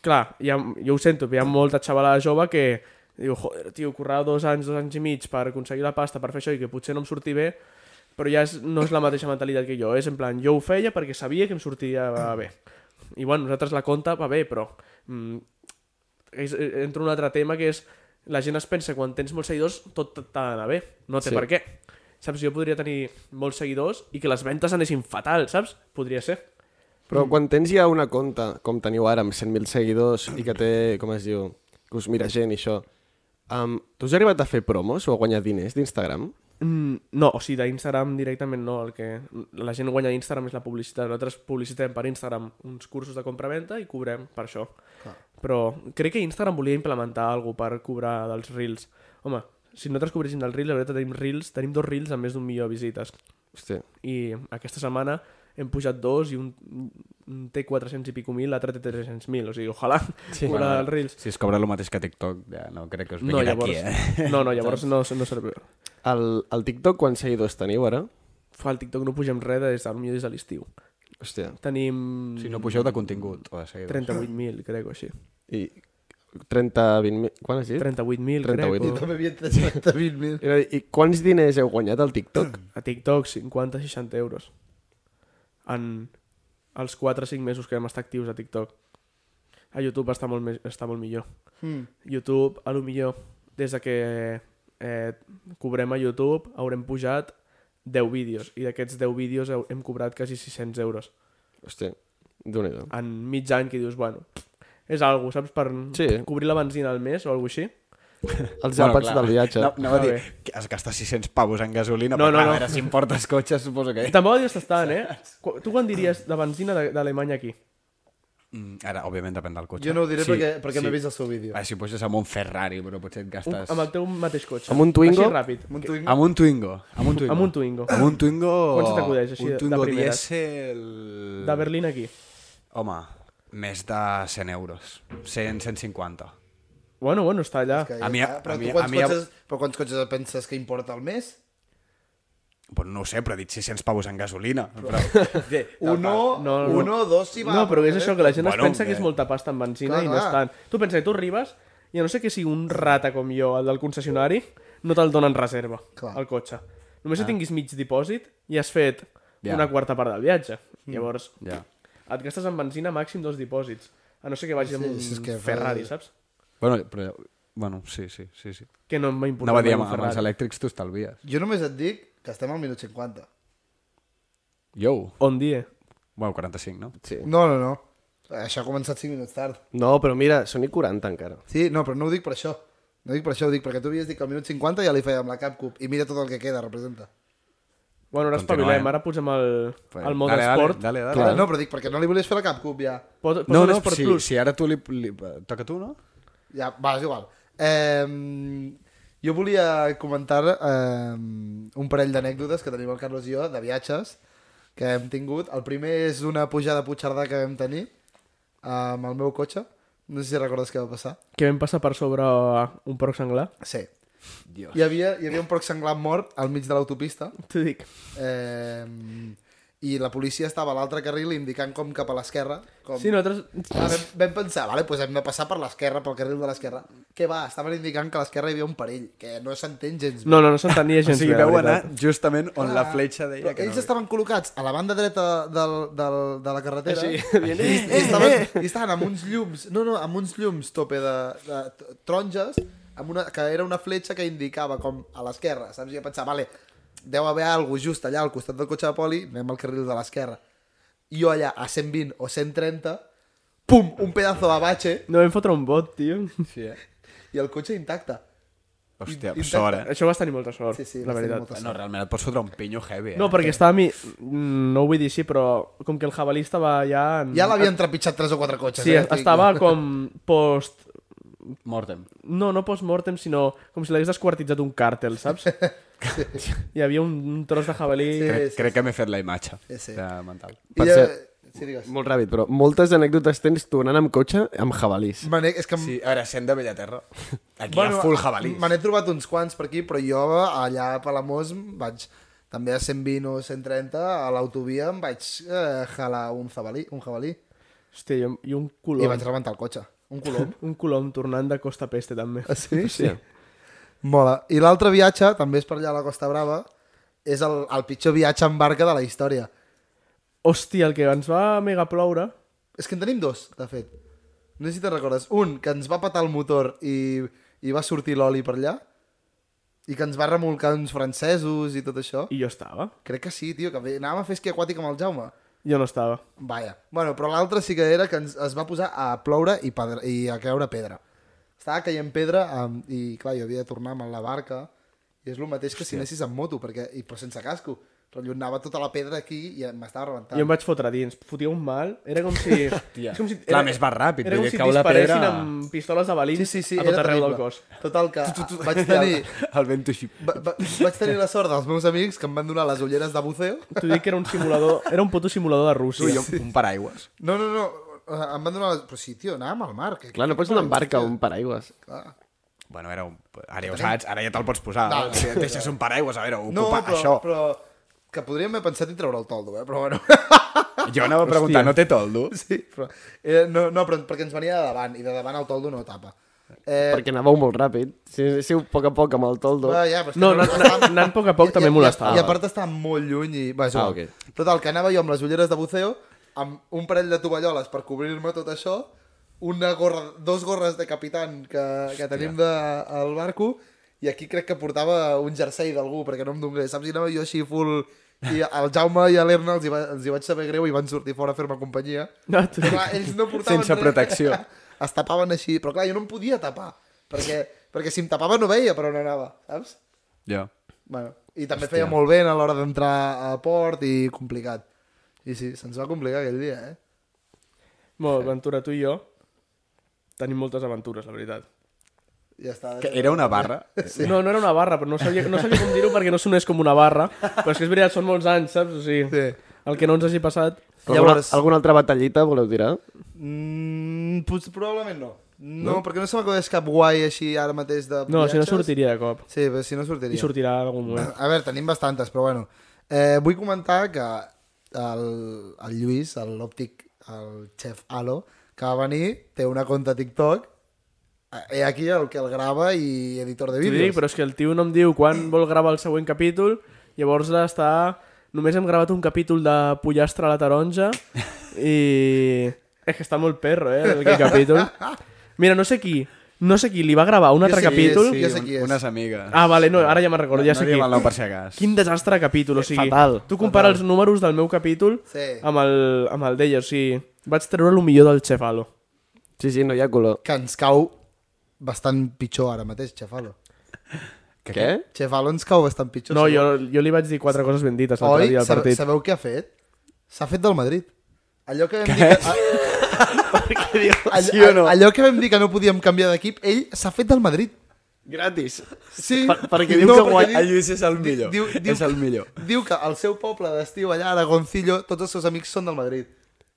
clar, ja, jo ho sento, però hi ha molta xavalada jove que diu, joder, tio, currar dos anys, dos anys i mig per aconseguir la pasta, per fer això, i que potser no em surti bé, però ja és, no és la mateixa mentalitat que jo, és en plan, jo ho feia perquè sabia que em sortia bé. I bueno, nosaltres la conta va bé, però mm, és, eh, entra un altre tema que és la gent es pensa quan tens molts seguidors tot t'ha d'anar bé, no té
Sí.
sí. per què. Saps, jo podria tenir molts seguidors i que les ventes anessin fatal, saps? Podria ser.
Mm.
Però quan tens ja una compte, com teniu ara, amb 100.000 seguidors i que té, com es diu, que us mira gent i això, um, tu has arribat a fer promos o a guanyar diners d'Instagram?
Mm, no, o sigui, d'Instagram directament no, el que la gent guanya d'Instagram és la publicitat. Nosaltres publicitem per Instagram uns cursos de compra-venta i cobrem per això. Clar. Però crec que Instagram volia implementar alguna per cobrar dels Reels. Home, si nosaltres cobréssim del Reels, la veritat tenim Reels, tenim dos Reels amb més d'un milió de visites.
Hosti,
i aquesta setmana hem pujat dos i un, un té 400 i pico mil, l'altre té 300 mil, o sigui, ojalà sí. cobrar els reels.
Si es cobra el mateix que TikTok, ja no crec que us
No,
vinguin
llavors,
aquí, eh?
no, no, llavors no, no serveix.
el, el TikTok quants seguidors teniu ara?
Fa el TikTok no pugem res des de, potser des de l'estiu.
Hòstia,
Tenim
Si no pugeu de contingut o de seguidors.
38.000, crec, o així.
i 30, 20 mil... Quan has dit?
38.000,
38.000.
crec.
També havia 320.000.
Era a dir, I quants diners heu guanyat al
[CLEARS THROAT]
TikTok?
O... A TikTok, 50-60 euros. En els 4-5 mesos que vam estar actius a TikTok. A YouTube està molt, més, està molt millor.
Mm.
YouTube, a lo millor, des de que eh, cobrem a YouTube, haurem pujat 10 vídeos, i d'aquests 10 vídeos heu- hem cobrat quasi 600 euros.
Hòstia, déu nhi
En mig any que dius, bueno, és algo, saps? Per
Sí.
cobrir la benzina al mes o alguna així.
Els àpats
clar.
del viatge.
No, no va
Ah,
dir,
bé.
que has gastat 600 pavos en gasolina,
No,
no,
no,
no,
no.
a veure si em portes cotxe, suposo que...
Tampoc ho dius tant, eh? Qu- Tu quan diries de benzina de- d'Alemanya aquí?
Mm, Ara, òbviament, depèn del cotxe.
Jo no ho diré
Sí,
perquè, perquè no he
sí.
vist el seu vídeo.
Ah, si puges amb un Ferrari, però potser et
Un,
gastes...
amb el teu mateix cotxe.
Amb un Twingo?
Així ràpid.
Monto i-
Amb un Twingo. Amb un Twingo.
Amb un Twingo.
Amb un Twingo...
Quan se t'acudeix, així, de-
un
de
Twingo
primeres?
dièsel...
De Berlín aquí.
Home, més de 100 euros. 100, 150.
Bueno, bueno, està allà.
Que
A mi-
ja- però
a mi-
tu quants
a mi-
cotxes- Però quants cotxes et penses que importa al mes?
Bueno, no ho sé, però he dit 600 pavos en gasolina. Però...
[LAUGHS] No,
Uno,
no.
uno, dos i va.
no, però és això, que la gent
Bueno,
es pensa que
eh.
és molta pasta en benzina
Clar,
i no
clar.
és tant. Tu pensa que tu arribes i a no sé que sigui un rata com jo, el del concessionari, no te'l donen reserva,
Clar.
el cotxe. Només
Ah.
si tinguis mig dipòsit i has fet
Ja.
una quarta part del viatge.
Mm.
Llavors,
Ja.
et gastes en benzina màxim dos dipòsits. A no sé que vagis amb
sí, és
un
que fa-
Ferrari, saps?
Bueno, però... Bueno, sí, sí, sí, sí.
Que no em va importar
Anava a dir,
mai
amb,
un
amb els
Ferrari.
elèctrics tu estalvies.
Jo només et dic que estem al minut 50.
Jo.
On die?
Bueno, 45, no?
Sí.
No, no, no. Això ha començat 5 minuts tard.
No, però mira, són i 40 encara.
Sí, no, però no ho dic per això. No ho dic per això, ho dic perquè tu havies dit que al minut 50 ja li fèiem la CapCup i mira tot el que queda, representa.
Bueno, ara
Continuem.
espavilem, ara posem el,
Pues,
el mode
dale, dale,
esport.
Dale, dale,
Clar,
dale.
no, però dic perquè no li volies fer la CapCup ja.
Pot, posa
No, no,
l'Esport
si,
Plus.
si ara tu li, li... Toca tu, no?
Ja, va, és igual. Eh, jo volia comentar eh, un parell d'anècdotes que tenim el Carlos i jo de viatges que hem tingut. El primer és una pujada a Puigcerdà que vam tenir eh, amb el meu cotxe. No sé si recordes què va passar.
Que vam passar per sobre un porc senglar. [LAUGHS]
Sí. Dios. Hi, havia, hi havia un porc senglar mort al mig de l'autopista
T'ho dic.
eh, i la policia estava a l'altre carril indicant com cap a l'esquerra. Com...
Sí, nosaltres...
Ah, vam, vam pensar, vale, pues hem de passar per l'esquerra, pel carril de l'esquerra. Què va? Estaven indicant que a l'esquerra hi havia un perill, que no s'entén gens bé.
No, no, no s'entenia
[LAUGHS] O
gens
sigui,
bé, la
veu anar
veritat. Ah.
justament on la fletxa deia
Però
que
ells
no...
estaven col·locats a la banda dreta del, del, de la carretera
Així,
[LAUGHS] i,
dient, eh,
i, estaven, i estaven amb uns llums no, no, amb uns llums tope de, de t- taronges amb una, que era una fletxa que indicava com a l'esquerra, saps? I jo pensava, vale, deu haver alguna just allà al costat del cotxe de poli, anem al carril de l'esquerra. I jo allà a 120 o 130, pum, un pedazo de bache
No vam fotre un bot, tio.
Sí, eh?
i el cotxe intacte.
Hòstia,
Intenta-
sort, eh?
Això vas tenir molta sort,
Sí, sí,
la
vas tenir
veritat.
molta
No, realment, et pots fotre un pinyo heavy, eh?
No, perquè estava a mi... mm, No ho vull dir així, però com que el jabalí estava ja... En...
Ja l'havien trepitjat tres o quatre cotxes.
Sí,
eh? Estic-
estava com post...
Mortem.
No, no post-mortem, sinó com si l'hagués desquartitzat un càrtel,
[LAUGHS]
saps? Hi havia un, un tros de jabalí...
Crec,
sí,
crec que m'he fet la imatge
Sí, sí.
de mental.
I,
Per
eh,
cert,
Sí, digues.
Molt ràpid, però moltes anècdotes tens tornant amb cotxe amb jabalís.
Me n'he- és que
Sí, a veure, sent de Bellaterra. Aquí bueno, hi ha full jabalís.
Me n'he trobat uns quants per aquí, però jo allà a Palamós vaig també a 120 o 130 a l'autovia em vaig eh, jalar un jabalí, un jabalí
Hòstia, jo, jo un
i
colom.
vaig rebentar el cotxe. Un
[LAUGHS]
colom.
Un colom tornant de Costa Peste, també.
Ah, sí?
Sí.
Mola. I l'altre viatge, també és per allà a la Costa Brava, és el, el pitjor viatge en barca de la història.
Hòstia, el que ens va mega ploure...
És que en tenim dos, de fet. No sé si te'n recordes. Un, que ens va patar el motor i, i va sortir l'oli per allà, i que ens va remolcar uns francesos i tot això.
I jo estava.
Crec que sí, tio, que ve- anàvem a fer esquí aquàtic amb el Jaume.
Jo no estava.
Vaja. Bueno, però l'altre sí que era que ens, es va posar a ploure i, pedra, i a creure pedra. Estava caient pedra um, i, clar, jo havia de tornar amb la barca i és el mateix que si anessis amb moto, perquè, i, però sense casco. Rotllo, anava tota la pedra aquí i m'estava rebentant.
Jo em vaig fotre a dins, fotia un mal, era com si... Hòstia, com si
clar, més va ràpid,
era com
perquè
si
cau la
disparessin
pedra-
amb pistoles de balins
Sí, sí, sí,
a tot
era
arreu
terrible.
del cos.
Total, que a- vaig tenir,
El vento així.
va, va, vaig tenir la sort dels meus amics que em van donar les ulleres de buceo.
T'ho dic que era un simulador, era un puto simulador de
Tu,
Rússia.
jo, un paraigües.
No, no, no, eh, em van donar les... Però sí, tio, anàvem al mar. Que,
Clar, no pots anar amb barca o un paraigües.
Bueno, era un... Ara ja ho saps, ara ja te'l pots posar.
Val.
No, Deixes un paraigües, a veure, ocupa
No, però,
això.
però que podríem haver pensat i treure el toldo, eh? però bueno. [LAUGHS]
Jo anava a preguntar, no té toldo?
Sí, però, eh, no, no, però perquè ens venia de davant, i de davant el toldo no tapa. Eh,
Perquè anàveu molt ràpid. Si si a poc a poc amb el toldo...
però ja, però és que
No, no, anant- anant a poc a poc també molestava.
I, a part estava molt lluny i... Va, és
Ah,
igual. Okay. Total, que anava jo amb les ulleres de buceo, amb un parell de tovalloles per cobrir-me tot això, una gorra, dos gorres de capitan que, que tenim de, al barco, i aquí crec que portava un jersei d'algú, perquè no em donés, saps? I anava jo així full... I al Jaume i a l'Erna els, hi va, els hi vaig saber greu i van sortir fora a fer-me companyia.
[LAUGHS] No, tu-
Però clar, ells no portaven
Sense
res.
protecció.
[LAUGHS] Es tapaven així, però clar, jo no em podia tapar, perquè, perquè si em tapava no veia per on anava, saps?
Jo.
Bueno, i també feia molt vent a l'hora d'entrar a port i complicat. I sí, se'ns va complicar aquell dia, eh?
Molt, Ventura, tu i jo tenim moltes aventures, la veritat.
Ja està.
Que eh era una barra.
Sí. No, no era una barra, però no sabia, no sabia com dir-ho perquè no sonés com una barra. Però és que és veritat, són molts anys, saps? O sigui,
Sí.
el que no ens hagi passat...
Alguna,
Llavors-
alguna altra batallita voleu tirar?
Mm, potser, probablement no. no. No, perquè no se m'acudeix cap guai així ara mateix de
No, si no
viatges.
sortiria de cop.
Sí, Ah, però si no sortiria.
I sortirà en algun moment.
A veure, tenim bastantes, però bueno. Eh, vull comentar que el, el Lluís, l'òptic, el xef Alo, que va venir, té una conta TikTok, eh, he aquí el que el grava i editor de
T'ho
vídeos.
dic, però és que el tio no em diu quan vol gravar el següent capítol, llavors està... Només hem gravat un capítol de Pollastre a la taronja i... És que està molt perro, eh,
[LAUGHS]
aquell capítol. Mira, no sé qui, no sé qui li va gravar un altre
sé qui és,
capítol.
sí. Jo sé qui és.
Unes amigues.
Ah, vale, no, ara ja me'n recordo, ja
no
sé
li
qui.
val no per si de cas.
Quin desastre de capítol, o sigui...
Eh, fatal.
Tu compara els números del meu capítol
Sí.
amb el, amb el d'ella, o sigui... Vaig treure el millor del Chefalo.
Sí, sí, no hi ha color.
que ens cau bastant pitjor ara mateix, Chefalo.
Que
Què?
Chefalo ens cau bastant pitjor.
No,
segur.
jo, jo li vaig dir quatre coses ben dites l'altre
Oi?
dia al
Sabe-
partit.
Sabeu què ha fet? S'ha fet del Madrid. Allò que vam dir
[LAUGHS]
que... Allò,
Sí o no?
allò que vam dir que no podíem canviar d'equip, ell s'ha fet del Madrid.
Gratis.
Sí.
Per- perquè diu que guany-
El Lluís és el millor.
Diu, diu,
és el millor.
Diu que al seu poble d'estiu allà, a Aragoncillo, tots els seus amics són del Madrid.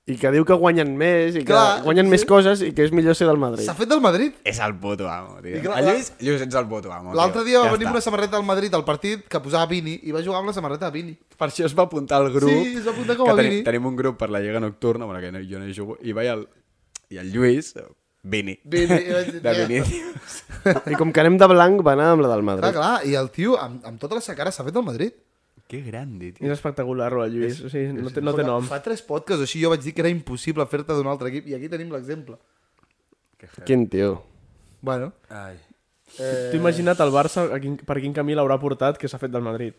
I que diu que guanyen més, i que
Clar,
guanyen
sí.
més coses, i que és millor ser del Madrid.
S'ha fet del Madrid.
És el puto amo, tio.
I clar,
el Lluís, Lluís, ets el puto amo. tio.
L'altre dia va venir
està.
amb una samarreta del Madrid al partit que posava Vini i va jugar amb la samarreta de Vini.
Per això es va apuntar al grup.
Sí, es va apuntar com
que
a
tenim,
Vini.
tenim un grup per la Lliga Nocturna, bueno, que no, jo no hi jugo, i vaig el, i el Lluís, Vini. [LAUGHS]
Vini, i vaig dir,
de
"Ja".
Vinicius.
I com que anem de blanc, va anar amb la del
Clar,
Madrid.
clar, i el tio amb, amb tota la seva cara s'ha fet del Madrid.
Que grande, tio.
És espectacular, el Lluís. O sigui, no, té, no té nom.
Fa tres podcasts o així jo vaig dir que era impossible fer-te d'un altre equip i aquí tenim l'exemple.
Quin tio.
Bueno,
Ai.
T'ho imagina't el Barça a quin, per quin camí l'haurà portat que s'ha fet del Madrid.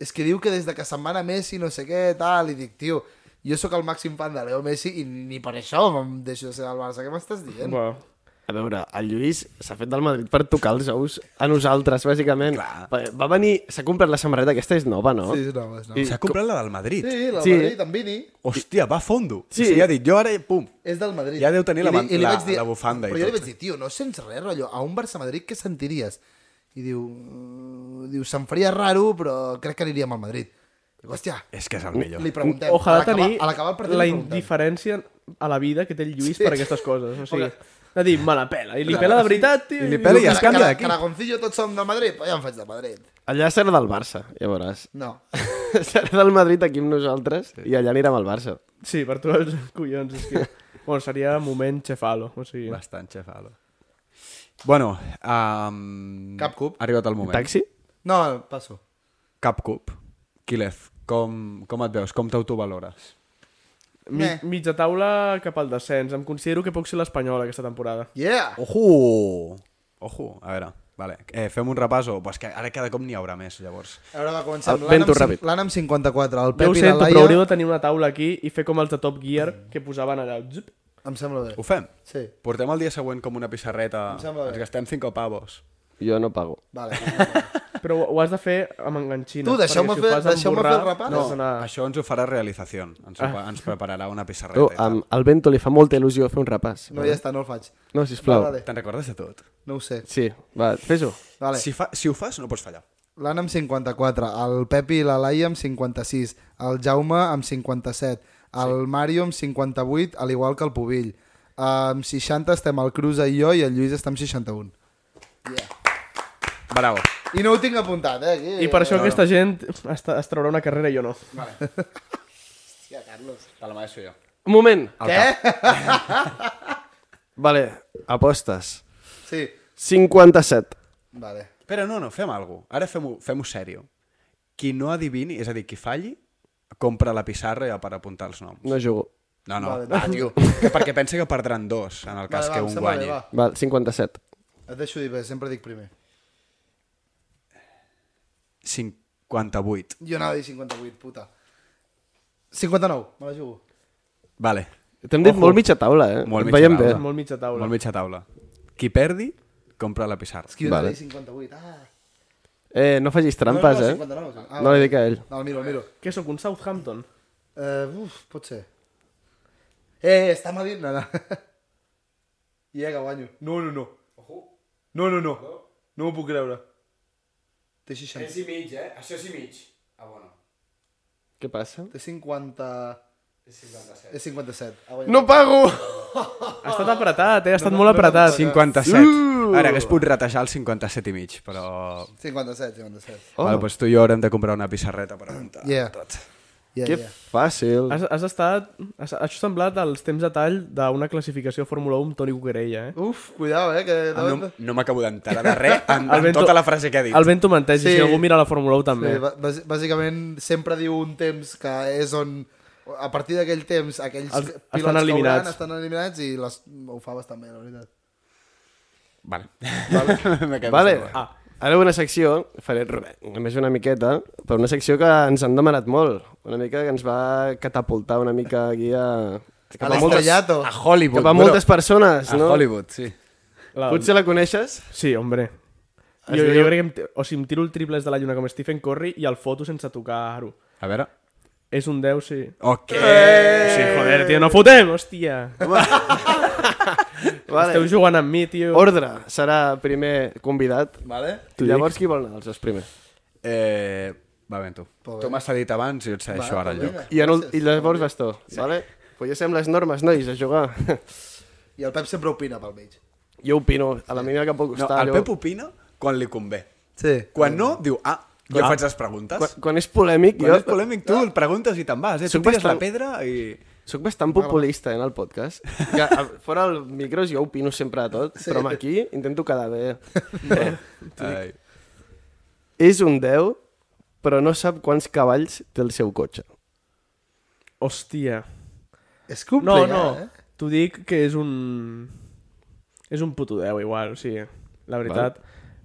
és que diu que des de que se'n va anar Messi no sé què, tal, i dic, tio, jo sóc el màxim fan de Leo Messi i ni per això em deixo de ser del Barça. Què m'estàs dient?
Bueno,
A veure, el Lluís s'ha fet del Madrid per tocar els ous a nosaltres, bàsicament.
Clar.
Va, va venir... S'ha comprat la samarreta, aquesta és nova, no?
Sí, no, és no.
I-
S'ha comprat la del Madrid.
Sí, la
Sí.
Madrid amb Vini
Hòstia, va a fondo.
Sí.
Sí. O sigui, ja ha dit, jo ara, pum.
és del Madrid.
Ja deu tenir la ban- la-
vaig
la bufanda i
Però jo li
tot.
vaig dir, tio, no sents res, rotllo, a un Barça-Madrid què sentiries? I diu, "Mm", diu, se'm faria raro, però crec que aniríem al Madrid. Hòstia,
És que és el millor.
li preguntem.
Ojalà
A l'acabar-
tenir
a l'acabar el partit
la
li preguntem.
indiferència a la vida que té el Lluís sí.
Sí.
per aquestes coses. O sigui, de dir, me la pela. I li pela de veritat, tio.
I li pela i
diu,
es
"Cara,
canvia
cara,
d'aquí".
cara.
Caragoncillo, tots som del Madrid, però ja em faig del Madrid.
Allà serà del Barça, ja veuràs. [LAUGHS]
No.
serà del Madrid aquí amb nosaltres i allà anirà amb el Barça.
Sí, per tu els collons. És que... Bueno, seria moment xefalo. O sigui,
Bastant xafalo. Bueno, um...
Cap cup.
Ha arribat el moment.
Taxi?
No, passo.
Cap cup. Quilef, com, com et veus? Com t'autovalores?
mi,
Meh.
mitja taula cap al descens. Em considero que puc ser l'Espanyol aquesta temporada.
Yeah!
Ojo! Ojo, a veure, vale. Eh, fem un repàs o... Pues que ara cada cop n'hi haurà més, llavors.
Ara va començar amb
El
l'Anna
vento
amb, cin-
ràpid.
l'Anna amb 54,
Ja
el
ho
Pep i la
sento, però hauríeu
Laia...
de tenir una taula aquí i fer com els de Top Gear que posaven allà. Zup.
Em sembla bé.
Ho fem?
Sí.
Portem el dia següent com una pissarreta.
Em sembla bé.
Ens gastem 5 pavos.
Jo no pago.
Vale.
Però ho, ho has de fer amb enganxines.
Tu, deixeu-me
perquè si ho
fer-
fas amb
deixeu-me
borrar,
fer el repàs.
No,
has d'anar-
això ens ho farà realització. Ens,
Ah.
ho, fa- ens prepararà una pissarreta.
Tu,
i tal.
amb el Bento li fa molta il·lusió fer un repàs.
No, ja està, no el faig.
No, sisplau.
Vale, vale.
Te'n recordes de tot?
No ho sé.
Sí, va, fes-ho.
Vale.
Si, fa, si ho fas, no pots fallar.
L'Anna amb 54, el Pep i la Laia amb 56, el Jaume amb 57, el Mario amb 58, a l'igual que el Pubill. Amb 60 estem el Cruz i jo i el Lluís està amb 61.
Bravo.
I no ho tinc apuntat, eh? Aquí.
I per això aquesta gent es, es traurà una carrera i jo no.
Te la mereixo jo.
Un moment!
Què?
[LAUGHS] Vale, apostes.
Sí.
57.
Vale.
Espera, no, no, fem alguna cosa. Ara fem-ho fem sèrio. Qui no adivini, és a dir, qui falli, compra la pissarra ja per apuntar els noms.
No jugo.
No, no,
Vale,
vale, va, tio. Que perquè pensa que perdran dos, en el cas
vale,
que
em
un
sembla
guanyi.
Bé,
Val, 57.
va. Et deixo dir bé, sempre dic primer.
58.
Jo anava a dir 58, puta. 59, me la jugo.
Vale.
T'hem dit molt mitja taula, eh?
Molt
Et
mitja
veiem
taula.
bé.
Molt mitja taula.
Molt mitja taula. Qui perdi, compra la pissarra.
És que jo anava
Vale.
a dir 58. Ah.
Eh, no facis trampes,
no, no,
eh?
59, sí. Ah,
no li
vale.
dic a ell.
No, el miro, el miro.
Què sóc, un Southampton?
Uh, uf, pot ser. Eh, eh, està mal dit, nada. [LAUGHS] I que guanyo. No, no, no. No, no, no. No m'ho puc creure. Té 60.
i mig, eh? Això és i mig. Ah, bueno.
Què passa?
Té 50... És Ah, 57. Ha guanyat.
No pago!
Ha estat apretat, eh? Ha estat molt apretat.
57. Uh! Ara, hagués pogut retejar el 57 i mig, però...
57, 57.
Oh. Vale, doncs tu i jo ara hem de comprar una pissarreta per apuntar
Yeah.
tot.
Yeah,
Que
yeah.
fàcil.
Has, has estat... Has, has semblat els temps de tall d'una classificació Fórmula 1 amb Toni Cuquerella, eh?
Uf, cuidao, eh, que...
Ah, no no m'acabo d'enterar de res en, en
Bento-
tota la frase que ha dit.
El vent ho menteix,
Sí.
sí. si algú mira la Fórmula 1 també.
Sí,
Sí,
bà- bàs- bàsicament sempre diu un temps que és on a partir d'aquell temps aquells
Els-
pilots
estan
que hauran
eliminats.
estan eliminats i les, ho fa bastant bé, la veritat.
Vale. [LAUGHS] vale.
Vale. Ah. Ara una secció, faré re- només una miqueta, però una secció que ens han demanat molt. Una mica que ens va catapultar una mica aquí
A
a... a moltes,
l'estrellato.
A Hollywood,
cap a
bro.
moltes persones,
A
no?
Hollywood, sí.
la...
Potser la coneixes?
sí hombre.
Es
Jo,
diu-
jo crec que... em ti- O si em tiro el triple de la lluna com Stephen Curry i el foto sense tocar-ho.
A veure.
És un 10, sí.
Ok.
Sí, joder, tio, no fotem, hòstia.
Vale.
Esteu jugant amb mi, tio.
Ordre, serà primer convidat.
Vale?
Tu Llavors, qui vol anar els dos primer?
Eh, va ben tu. Tu m'has cedit abans i jo et cedeixo ara el lloc.
I, en ul... I llavors vas tu, sí. vale? Pues ja sabem les normes, nois, a jugar. [LAUGHS]
I el Pep sempre opina pel mig.
jo opino, a la mínima que em pot
No,
costar.
el
jo-
Pep opina quan li convé.
Sí.
Quan no, diu, ah, jo faig les preguntes.
quan, quan és polèmic,
Quan
jo
és polèmic, tu el preguntes i te'n vas, eh? Tu
Soc
tires la
bastant-
pedra i...
Soc bastant
Ah,
populista eh, en el podcast. Que,
[LAUGHS]
a, fora el micros jo opino sempre de tot, sí. però home, aquí intento quedar
[LAUGHS]
bé. Eh,
Ai.
És un 10, però no sap quants cavalls té el seu cotxe.
Hòstia.
És
No,
complicat,
no.
eh?
T'ho dic que és un... És un puto 10, igual. O sigui, la veritat,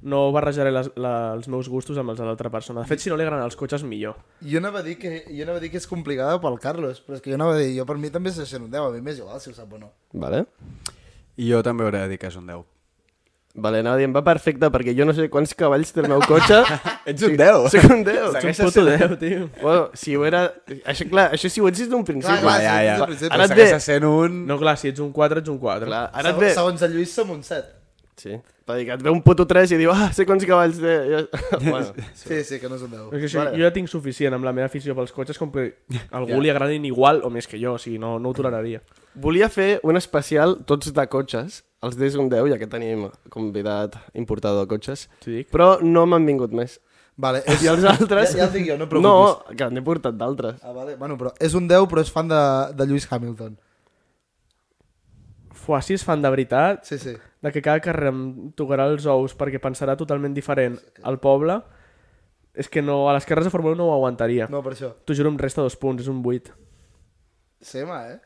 no barrejaré les, la, els meus gustos amb els de l'altra persona. De fet, si no li agraden els cotxes, millor.
Jo anava, a dir que, jo anava a dir que és complicada pel Carlos, però és que jo anava a dir, jo per mi també és ser un 10, a mi m'és igual si ho sap o no.
Vale?
I jo també hauré de dir que és un 10.
Vale, anava dient, va perfecte, perquè jo no sé quants cavalls té el meu
[LAUGHS]
cotxe.
Ets un 10.
Soc un 10.
Ets
Segueixes
un puto 10, tio.
Bueno, si ho era... Això, clar, això si ho ets des d'un principi.
Clar,
Va,
Clar,
ja, ja.
Ara et
Ara
ve-
segueix sent un...
No, clar, si ets un 4, ets un 4.
clar, ara et
Segons,
ve...
segons el Lluís som un 7.
Sí. Per dir que et ve un puto 3 i diu, ah, sé quants cavalls té. Jo... [LAUGHS] bueno,
Sí, sí, que no són 10.
És que, sí, vale. Jo ja tinc suficient amb la meva afició pels cotxes com
[LAUGHS]
que algú li agradin igual o més que jo, o sigui, no, no ho toleraria.
volia fer un especial tots de cotxes, els d'ells un 10, ja que tenim convidat importador de cotxes,
T'ho dic.
però no m'han vingut més.
Vale, és... [LAUGHS]
I els altres...
Ja, ja el dic jo, no et preocupis.
No, que n'he portat d'altres.
Ah, vale. Bueno, però és un 10, però és fan de, de Lewis Hamilton.
Fuà, si es fan de veritat,
Sí, sí.
de que cada carrer em tocarà els ous perquè pensarà totalment diferent al poble, és que no, a les carreres de Fórmula 1 no ho aguantaria. No.
No, per això.
T'ho juro, em resta dos punts, és un 8.
Sema, eh?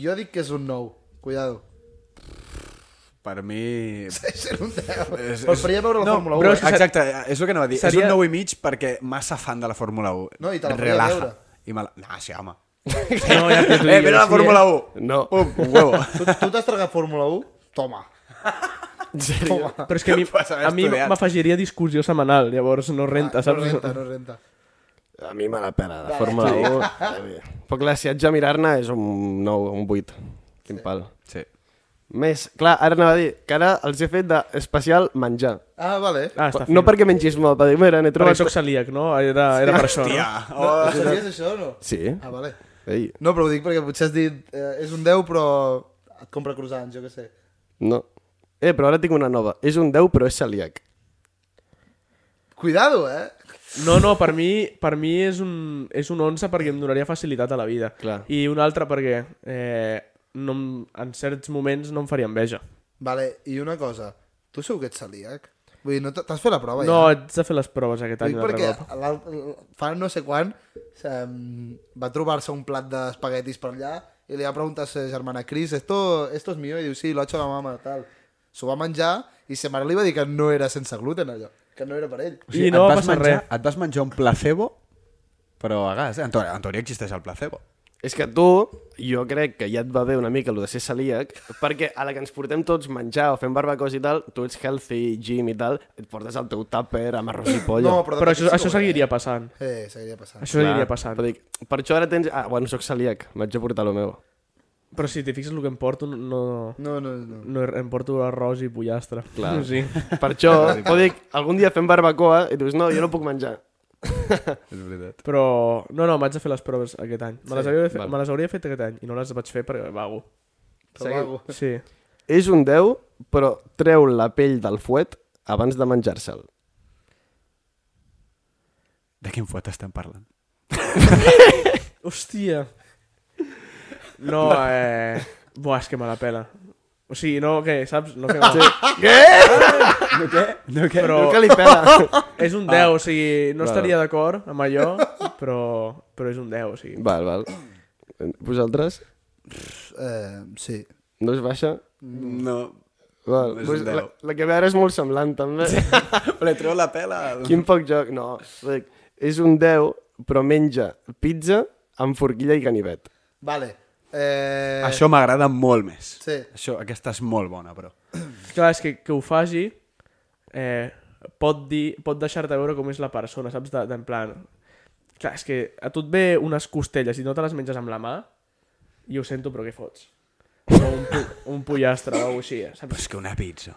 Jo dic que és un 9. Cuidado. [LAUGHS]
Per mi...
És un 10.
És-
Preferiria veure la
No, però
Fórmula eh? 1.
Però
és que ser-
Exacte, és el que anava a dir. Seria...
seria-
És un 9 i mig perquè massa fan de la Fórmula 1.
No, i te la podria
Relaja.
veure.
I me la... No, sí, home.
No, ja t'ho
[LAUGHS] [LAUGHS] Eh, mira la Fórmula 1!
No.
Pum, un huevo.
Tu, tu t'has tragat Fórmula 1? Toma. Toma.
Però és que a mi,
[LAUGHS] Pues haver
a mi
estudiat. Ah,
m'afegiria discussió setmanal, llavors no renta,
Ah, No
saps?
renta, no renta.
A mi me la pela, la Fórmula 1. [LAUGHS] Però clar, si haig de mirar-ne és un 9, un 8. Quin pal.
Sí.
Més, clar, ara anava a dir que ara els he fet d'especial menjar.
Ah, vale.
Ah, està
no
fint.
perquè mengis molt, per dir, mira, n'he
Perquè
trobat...
soc celíac, no? Era, era per això, no?
Tia,
No,
oh.
ho sabies això o no?
Sí.
Ah, vale.
Ei,
No, però ho dic perquè potser has dit... Eh, és un 10, però et compra croissants, jo què sé.
no. Eh, però ara tinc una nova. És un 10, però és celíac.
Cuidado, eh?
No, no, per mi, per mi és, un, és un 11 perquè em donaria facilitat a la vida.
Clar.
I un altre perquè eh, no, em- en certs moments no em faria enveja.
Vale, i una cosa. Tu segur que ets celíac? Vull dir, no t'has fet la prova,
No,
Oh, ja?
ets de fer les proves aquest
Ho
any
dic
un altre
perquè
cop.
l'alt- fa no sé quan em, va trobar-se un plat d'espaguetis per allà i li va preguntar a sa germana Cris, esto, esto es mío? I diu, sí, lo ha hecho la mama, tal. S'ho va menjar i sa mare li va dir que no era sense gluten, allò. Que no era per ell.
I no
et
va
vas
passar
menjar,
res.
Et vas menjar un placebo, però a gas. eh? En, teoria, en teoria existeix el placebo.
És que tu, jo crec que ja et va bé una mica el de ser celíac, perquè a la que ens portem tots menjar o fem barbacoa i tal, tu ets healthy, gym i tal, et portes el teu tàper amb arròs i polla.
No,
Però això,
sí que
això
ho era,
seguiria passant.
Eh, Eh, seguiria passant.
Això seguiria passant.
Però
Però,
dic, per això ara tens... Ah, bueno, sóc celíac, m'haig de portar el meu.
si t'hi fixes el que em porto, no, no,
No, no, no.
no em porto arròs i pollastre. Clar. [LAUGHS] Sí.
Per això, però dic, algun dia fem barbacoa i dius, no, jo no puc menjar.
És veritat.
Però, no, no, m'haig de fer les proves aquest any. Me les, hauria de fer, me les hauria fet aquest any i no les vaig fer perquè vago.
Però vago.
Sí.
És un 10, però treu la pell del fuet abans de menjar-se'l.
De quin fuet estem parlant?
Hòstia. No, eh... Buah, és que me la pela. O sigui, no, què, saps? No, que Ah, sí.
No què? No què?
Però
No que li
[LAUGHS]
pela.
és un 10, o sigui, no estaria d'acord amb allò, però, però és un 10, o sigui.
val, val. Vosaltres?
Eh, sí.
No es baixa?
No.
Val.
pues
Vos,
És un
la,
10.
la que ve ara és molt semblant, també.
Li treu la pela. al-
[LAUGHS] Quin poc joc. No, dic, és un 10, però menja pizza amb forquilla i ganivet.
Vale. Eh...
Això m'agrada molt més.
Sí.
Això, aquesta és molt bona, però.
Clar, és que, que ho faci eh, pot, dir, pot deixar-te veure com és la persona, saps? De- D'en plan... Clar, és que a tu et ve unes costelles i no te les menges amb la mà, i ho sento, però què fots? O un, po un pollastre o alguna cosa així, eh, saps?
Però és que una pizza.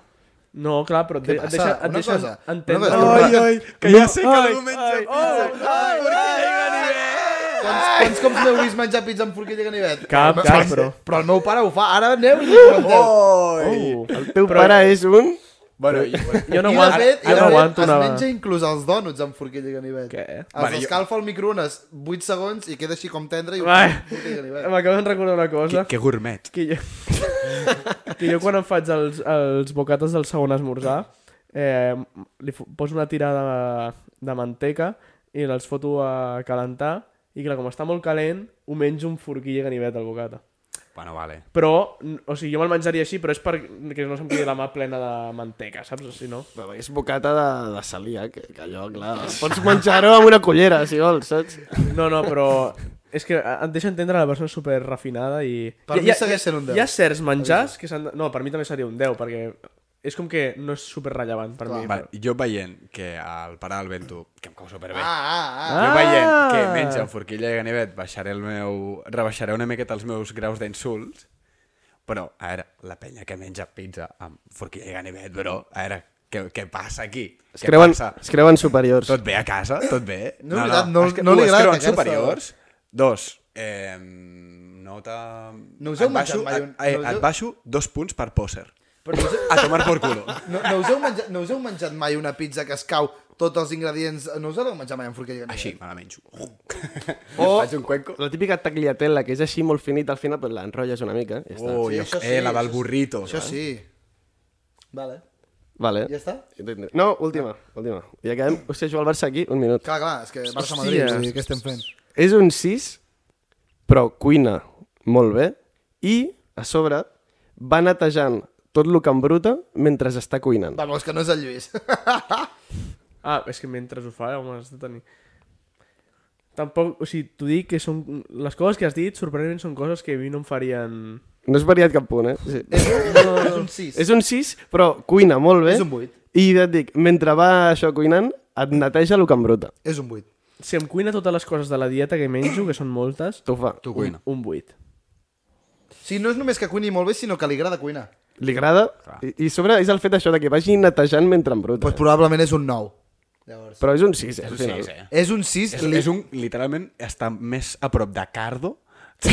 No, clar, però et, de, et
passa?
deixa, et
Una
deixa
cosa, una
entendre...
cosa. Ai,
ai, que ja sé que algú menja
Oh,
pizza.
Quants, quants cops m'heu vist menjar pizza amb forquilla i ganivet?
Cap,
Però-
cap, però.
Però el meu pare ho fa. Ara aneu i ho comenteu.
Oh, el
Teu però... pare és un...
Bueno, [LAUGHS]
Jo no
I de
aguanto,
fet- i
jo
de
no
fet,
aguanto una...
Es menja inclús els dònuts amb forquilla i ganivet.
Què?
Els
Vale,
vale,
jo-
escalfa al microones 8 segons i queda així com tendre i ho
Ai,
amb forquilla i ganivet.
M'acabo de recordar una cosa.
que, que gourmet.
Que jo, [LAUGHS] que jo quan em faig els, els bocates del segon esmorzar, eh, li fo- poso una tira de, de manteca i els foto a calentar i clar, com està molt calent, ho menjo amb forquilla i ganivet al bocata.
Bueno, vale.
Però, n- o sigui, jo me'l menjaria així, però és perquè no se'm quedi la mà plena de manteca, saps? O sigui, no?
Però és bocata de, de celíac, que allò, clar, pots menjar-ho amb una cullera, si vols, saps?
No, no, però és que eh, et deixa entendre la persona super refinada i...
Per mi segueix sent un 10.
Hi ha certs menjars que s'han... de- No, per mi també seria un 10, perquè és com que no és super rellevant per mi.
Vale, jo veient que el pare del Bento, que em cau superbé,
Ah,
ah.
ah, ah.
jo veient que menja amb forquilla i ganivet, baixaré el meu, rebaixaré una miqueta els meus graus d'insults, Però, a veure, la penya que menja pizza amb forquilla i ganivet, però, a veure, què, què passa aquí?
Es
Què
creuen,
passa?
es creuen superiors.
Tot bé a casa? Tot bé?
No, veritat, no-
és que,
no
u,
li
es
agrada
creuen
queixar-se.
superiors. Dos, eh, nota...
No us heu
et baixo,
menjat mai un-
et-
no
eh,
us heu-
Et baixo dos punts per pòsser.
Però no us,
A tomar por culo.
no, no, us heu menjat, no us heu menjat mai una pizza que es cau tots els ingredients... No us heu menjat mai amb forquilla i ganivet?
Així, me la menjo.
O la típica tagliatella, que és així molt finita al final, però l'enrotlles una mica. Ja està.
Oh,
Sí,
jo,
això sí,
eh, la del
això sí.
burrito.
Això
saps?
sí. Vale.
Vale.
Ja està?
No, última, última. Ja quedem... Hòstia, jugar al Barça aquí, un minut.
Clar, clar, és que Barça-Madrid,
Hòstia.
vull dir, què estem fent?
És un 6, però cuina molt bé i, a sobre, va netejant tot el que embruta mentre està cuinant.
Vamos, que no és el Lluís.
Ah, és que mentre ho fa, home, has de tenir... Tampoc, o sigui, t'ho dic que són... Les coses que has dit, sorprenentment, són coses que a mi no em farien...
No és variat cap punt, eh? Sí.
és, [LAUGHS] no, és un 6.
És un 6, però cuina molt bé.
És un vuit.
I ja et dic, mentre va això cuinant, et neteja el que embruta.
És un 8.
Si em cuina totes les coses de la dieta que menjo, que són moltes,
T'ho fa.
Tu cuina.
un 8.
O sigui, no és només que cuini molt bé, sinó que li agrada cuinar.
Li agrada? I, I sobre és el fet això de que vagi netejant mentre embruta.
Doncs pues probablement és un 9.
eh? Però és un 6, eh? Al
Sí,
final.
sí.
És un 6...
És, és un, literalment, està més a prop de Cardo. [LAUGHS]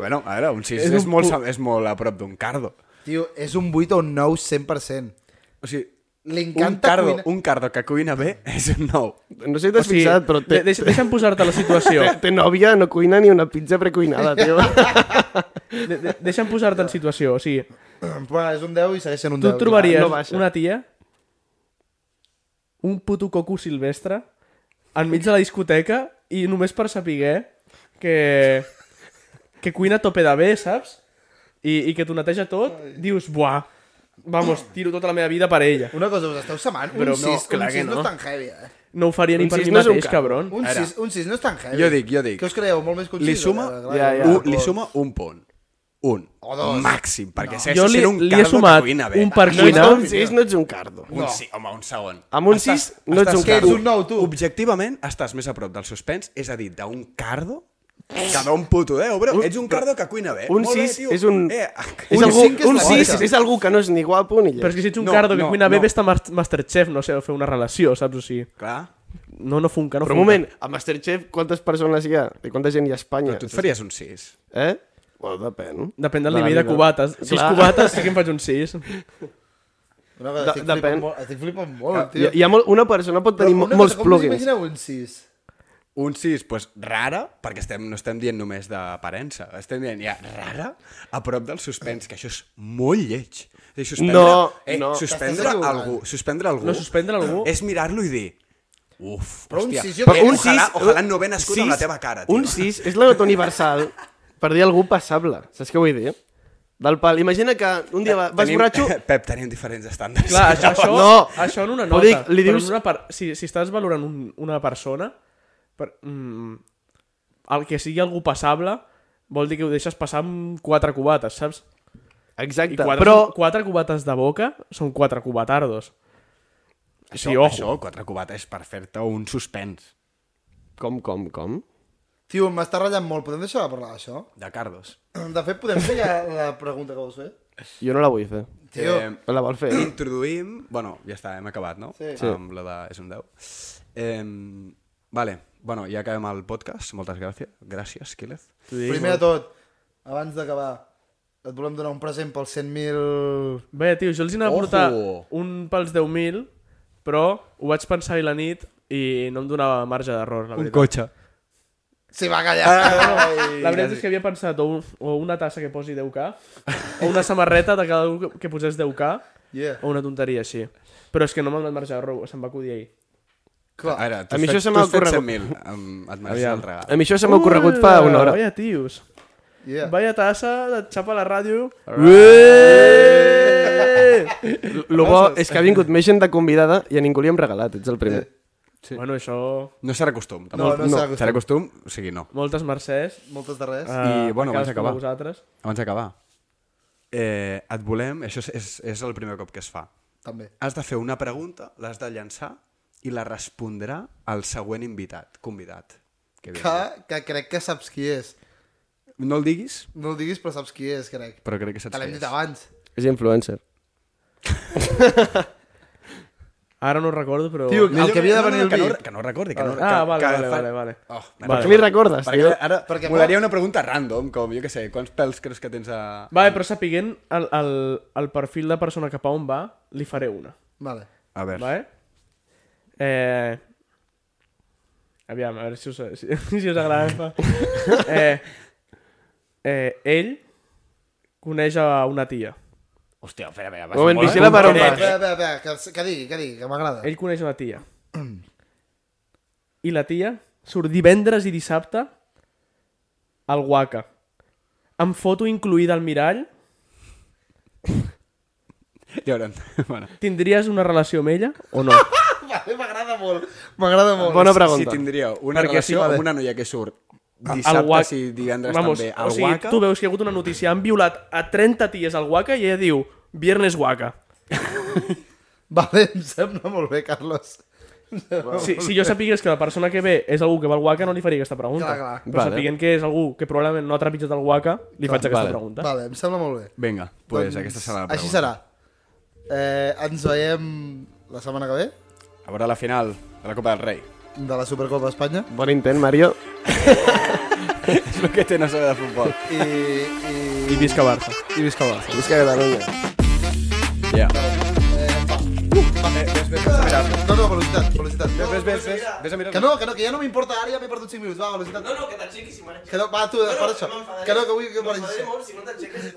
bueno, a veure, un sis és,
És un
és, molt,
pu-
sa- és molt a prop d'un Cardo.
Tio, és un 8 o un 9 100%.
O sigui,
Li
un
encanta
cardo,
cuinar...
un cardo que cuina bé és un nou.
No sé si t'has fixat, però té,
de- deixa, deixa'm posar-te la
[LAUGHS]
situació.
té, té nòvia, no cuina ni una pizza precuinada, tio.
De, de, deixa'm posar-te en situació. O sigui,
Bueno, és un 10 i segueix sent un
tu
10.
et trobaries
no
no
baixa.
una tia, un puto coco silvestre, enmig de la discoteca, i només per saber que, que cuina a tope de bé, saps? I, i que t'ho neteja tot, dius, buah, vamos, tiro tota la meva vida per ella.
Una cosa, us esteu semant?
Però
un
no,
6,
clar
un
que
6 no.
no.
és tan heavy, eh?
No ho faria ni
Un
per
sis
mi
no és un
mateix,
cap.
cabron.
Un
Ara.
6, un 6 no és tan heavy.
Jo dic, jo dic.
Què us creieu? Molt més concís.
Li suma,
Ja, ja.
un, li suma un punt. Un.
O dos.
Màxim, perquè no.
Jo
segueix
li,
sent un
li he
cardo
sumat
que cuina bé.
un per
No,
cuinar.
no, un 6 no ets un cardo.
Un sí, home, un segon.
Amb un
Estàs-
sis no ets
estàs-
un cardo.
Ets un nou, tu.
Objectivament, estàs més a prop del suspens, és a dir, d'un cardo que d'un puto 10, bro. Ets un cardo que cuina bé.
Un
Eh, Molt bé,
6
tio.
és un...
Eh,
és
[LAUGHS]
un
algú,
cinc és
un
la
6
baixa.
és algú que no és ni guapo ni llest.
Però és que si ets un
No,
cardo que
no,
cuina bé,
no.
vés a Mas- Masterchef, no sé, a fer una relació, saps? O sigui,
Clar.
no, no funca, no
Però un
funca.
moment, a Masterchef quantes persones hi ha? I quanta gent hi ha a Espanya?
Tu et faries un 6.
Eh? Bueno, depèn.
Depèn del
la
nivell de
vida.
cubates. Si és
Clar.
cubates, sí que em faig un 6.
[LAUGHS]
Una cosa,
De-
estic,
depèn.
flipant molt, estic flipant molt,
Hi,
tio.
hi ha molt, una persona pot tenir
Però
mo-
una
molts
cosa, com us
plugins.
Imagineu un 6.
Un 6, pues, rara, perquè estem, no estem dient només d'aparença, estem dient ja rara a prop del suspens, que això és molt lleig. O sigui, suspendre,
No,
eh,
no.
Suspendre
T'estàs equivocant.
algú, suspendre algú,
No, suspendre algú.
és mirar-lo i dir Uf,
Però un
hòstia,
sis, jo
però
crec-
un ojalà,
sis-
ojalà no haver nascut
sis-
amb la teva cara, tio.
Un 6 és la nota universal per dir algú passable. Saps què vull dir? Del pal. Imagina que un dia va- vas
Tenim-
borratxo...
[LAUGHS] Pep, tenim diferents estàndards.
Clar, això, això, no.
No.
això en una
Però
nota.
dic, li
però
dius-
en una per... si, si estàs valorant un, una persona, per, mm, el que sigui algú passable vol dir que ho deixes passar amb quatre cubates, saps? I
Exacte,
quatre,
però...
són- quatre cubates de boca són quatre cubatardos.
Això,
Sí, ojo.
això, quatre cubates per fer-te un suspens
Com, com, com?
Tio, m'està ratllant molt. Podem deixar de parlar d'això?
de cardos.
De fet, podem fer ja la pregunta que vols fer?
Jo no la vull fer.
Tio,
Eh,
La vol fer?
introduïm... Bueno, ja està, hem acabat, no?
Sí.
Sí.
Amb la de... És un 10. Eh, vale, bueno, ja acabem el podcast. Moltes gràcies. Gràcies, Quílez.
primer de
eh?
tot, abans d'acabar, et volem donar un present pels 100.000...
Bé, tio, jo els hi anava a
Ojo.
portar un pels 10.000, però ho vaig pensar ahir la nit i no em donava marge d'error, la veritat.
cotxe.
Sí, va,
Ah.
callar!
La veritat és que havia pensat o, un, o una tassa que posi 10k, o una samarreta de cada un que- que posés 10k,
Yeah.
o una tonteria així. Però és que no m'ha donat marge d'error, se'm va acudir ahir.
Clar. A veure,
A
t'has
mi això
fet,
se m'ha
t'has fet
ocorregut.
100.000. Em- Et mereixes el regal.
A mi això se m'ha ocorregut fa una hora.
Vaya tios.
Yeah.
Yeah. Vaya tassa, et xapa la ràdio.
Eh!
Eh!
Lo bo és que ha vingut més gent de convidada i a ningú li hem regalat, ets el primer.
Sí. Bueno, això...
No serà costum.
No, no serà costum.
Serà costum, o sigui, no.
Moltes mercès.
Moltes de res.
a-
I, bueno,
a cadascun
abans
de
d'acabar.
Vosaltres.
Abans d'acabar, eh, et volem... Això és, és, és el primer cop que es fa.
També.
Has de fer una pregunta, l'has de llançar i la respondrà el següent invitat, convidat. Que,
Que, que crec que saps qui és.
No el diguis,
No ho diguis, però saps qui és, crec.
però crec que saps
Te l'hem
qui
dit
és.
abans.
És influencer.
Ara no ho recordo, però...
Tio,
No,
el que havia de venir el
que no,
vi.
que no recordi, que no...
Ah,
que-
vale,
que
vale,
fa-
vale, vale.
Oh,
Vale.
Què m'hi recordes,
Perquè
tio?
ara
Perquè
molaria una pregunta random, com, jo què sé, quants pèls creus que tens a...
Vale, però sapiguent el, el, el perfil de persona cap a on va, li faré una.
Vale.
A veure,
Vale? Eh... Aviam, a veure si us, si, [LAUGHS] si us
[LAUGHS]
agrada. eh, eh, ell coneix a una tia.
Hòstia, espera, espera,
Un moment,
molt
vigila
[LAUGHS]
per on
concret,
vas.
Espera, espera, espera, que, que digui, que digui, que m'agrada.
Ell coneix una tia. I la tia surt divendres i dissabte al Waka. Amb foto incluïda al mirall,
Ja veurem. [LAUGHS] Bueno.
tindries una relació amb ella o no?
Vale, m'agrada molt. M'agrada molt.
Bona
Si
pregunta.
tindríeu una
Perquè sí,
relació
vale.
amb una noia que surt
Al
dissabte,
Waka-
si divendres
Vamos,
també,
o
al
sigui,
Waka...
tu veus que hi ha hagut una notícia, han violat a 30 ties al Waka i ella diu, viernes Waka.
Vale, em sembla molt bé, Carlos.
Si, si jo sapigués que la persona que ve és algú que va al Waka, no li faria aquesta pregunta.
Clar, clar.
Però
Vale.
sapiguent que és algú que probablement no ha trepitjat el Waka, li faig aquesta
vale.
pregunta.
Vale, em sembla molt bé.
Vinga, doncs pues, aquesta serà la pregunta.
Així serà. Eh, ens veiem la setmana que ve
A veure la final de la Copa del Rei. [LAUGHS]
de la Supercopa d'Espanya
Bon intent, Mario.
És el que té no saber de futbol.
i, i,
I visca Barça.
i visca el Barça.
Visca Catalunya.
Ja.
No, no, velocitat, velocitat. No,
Ves, ves, ves, ves a mirar...
Que no, que no, que ja no m'importa, ara ja m'he perdut 5 minuts, va, velocitat. No, no, que t'aixequis i marxis. Que no, va, tu, no, per això. Que no, que vull que marxis.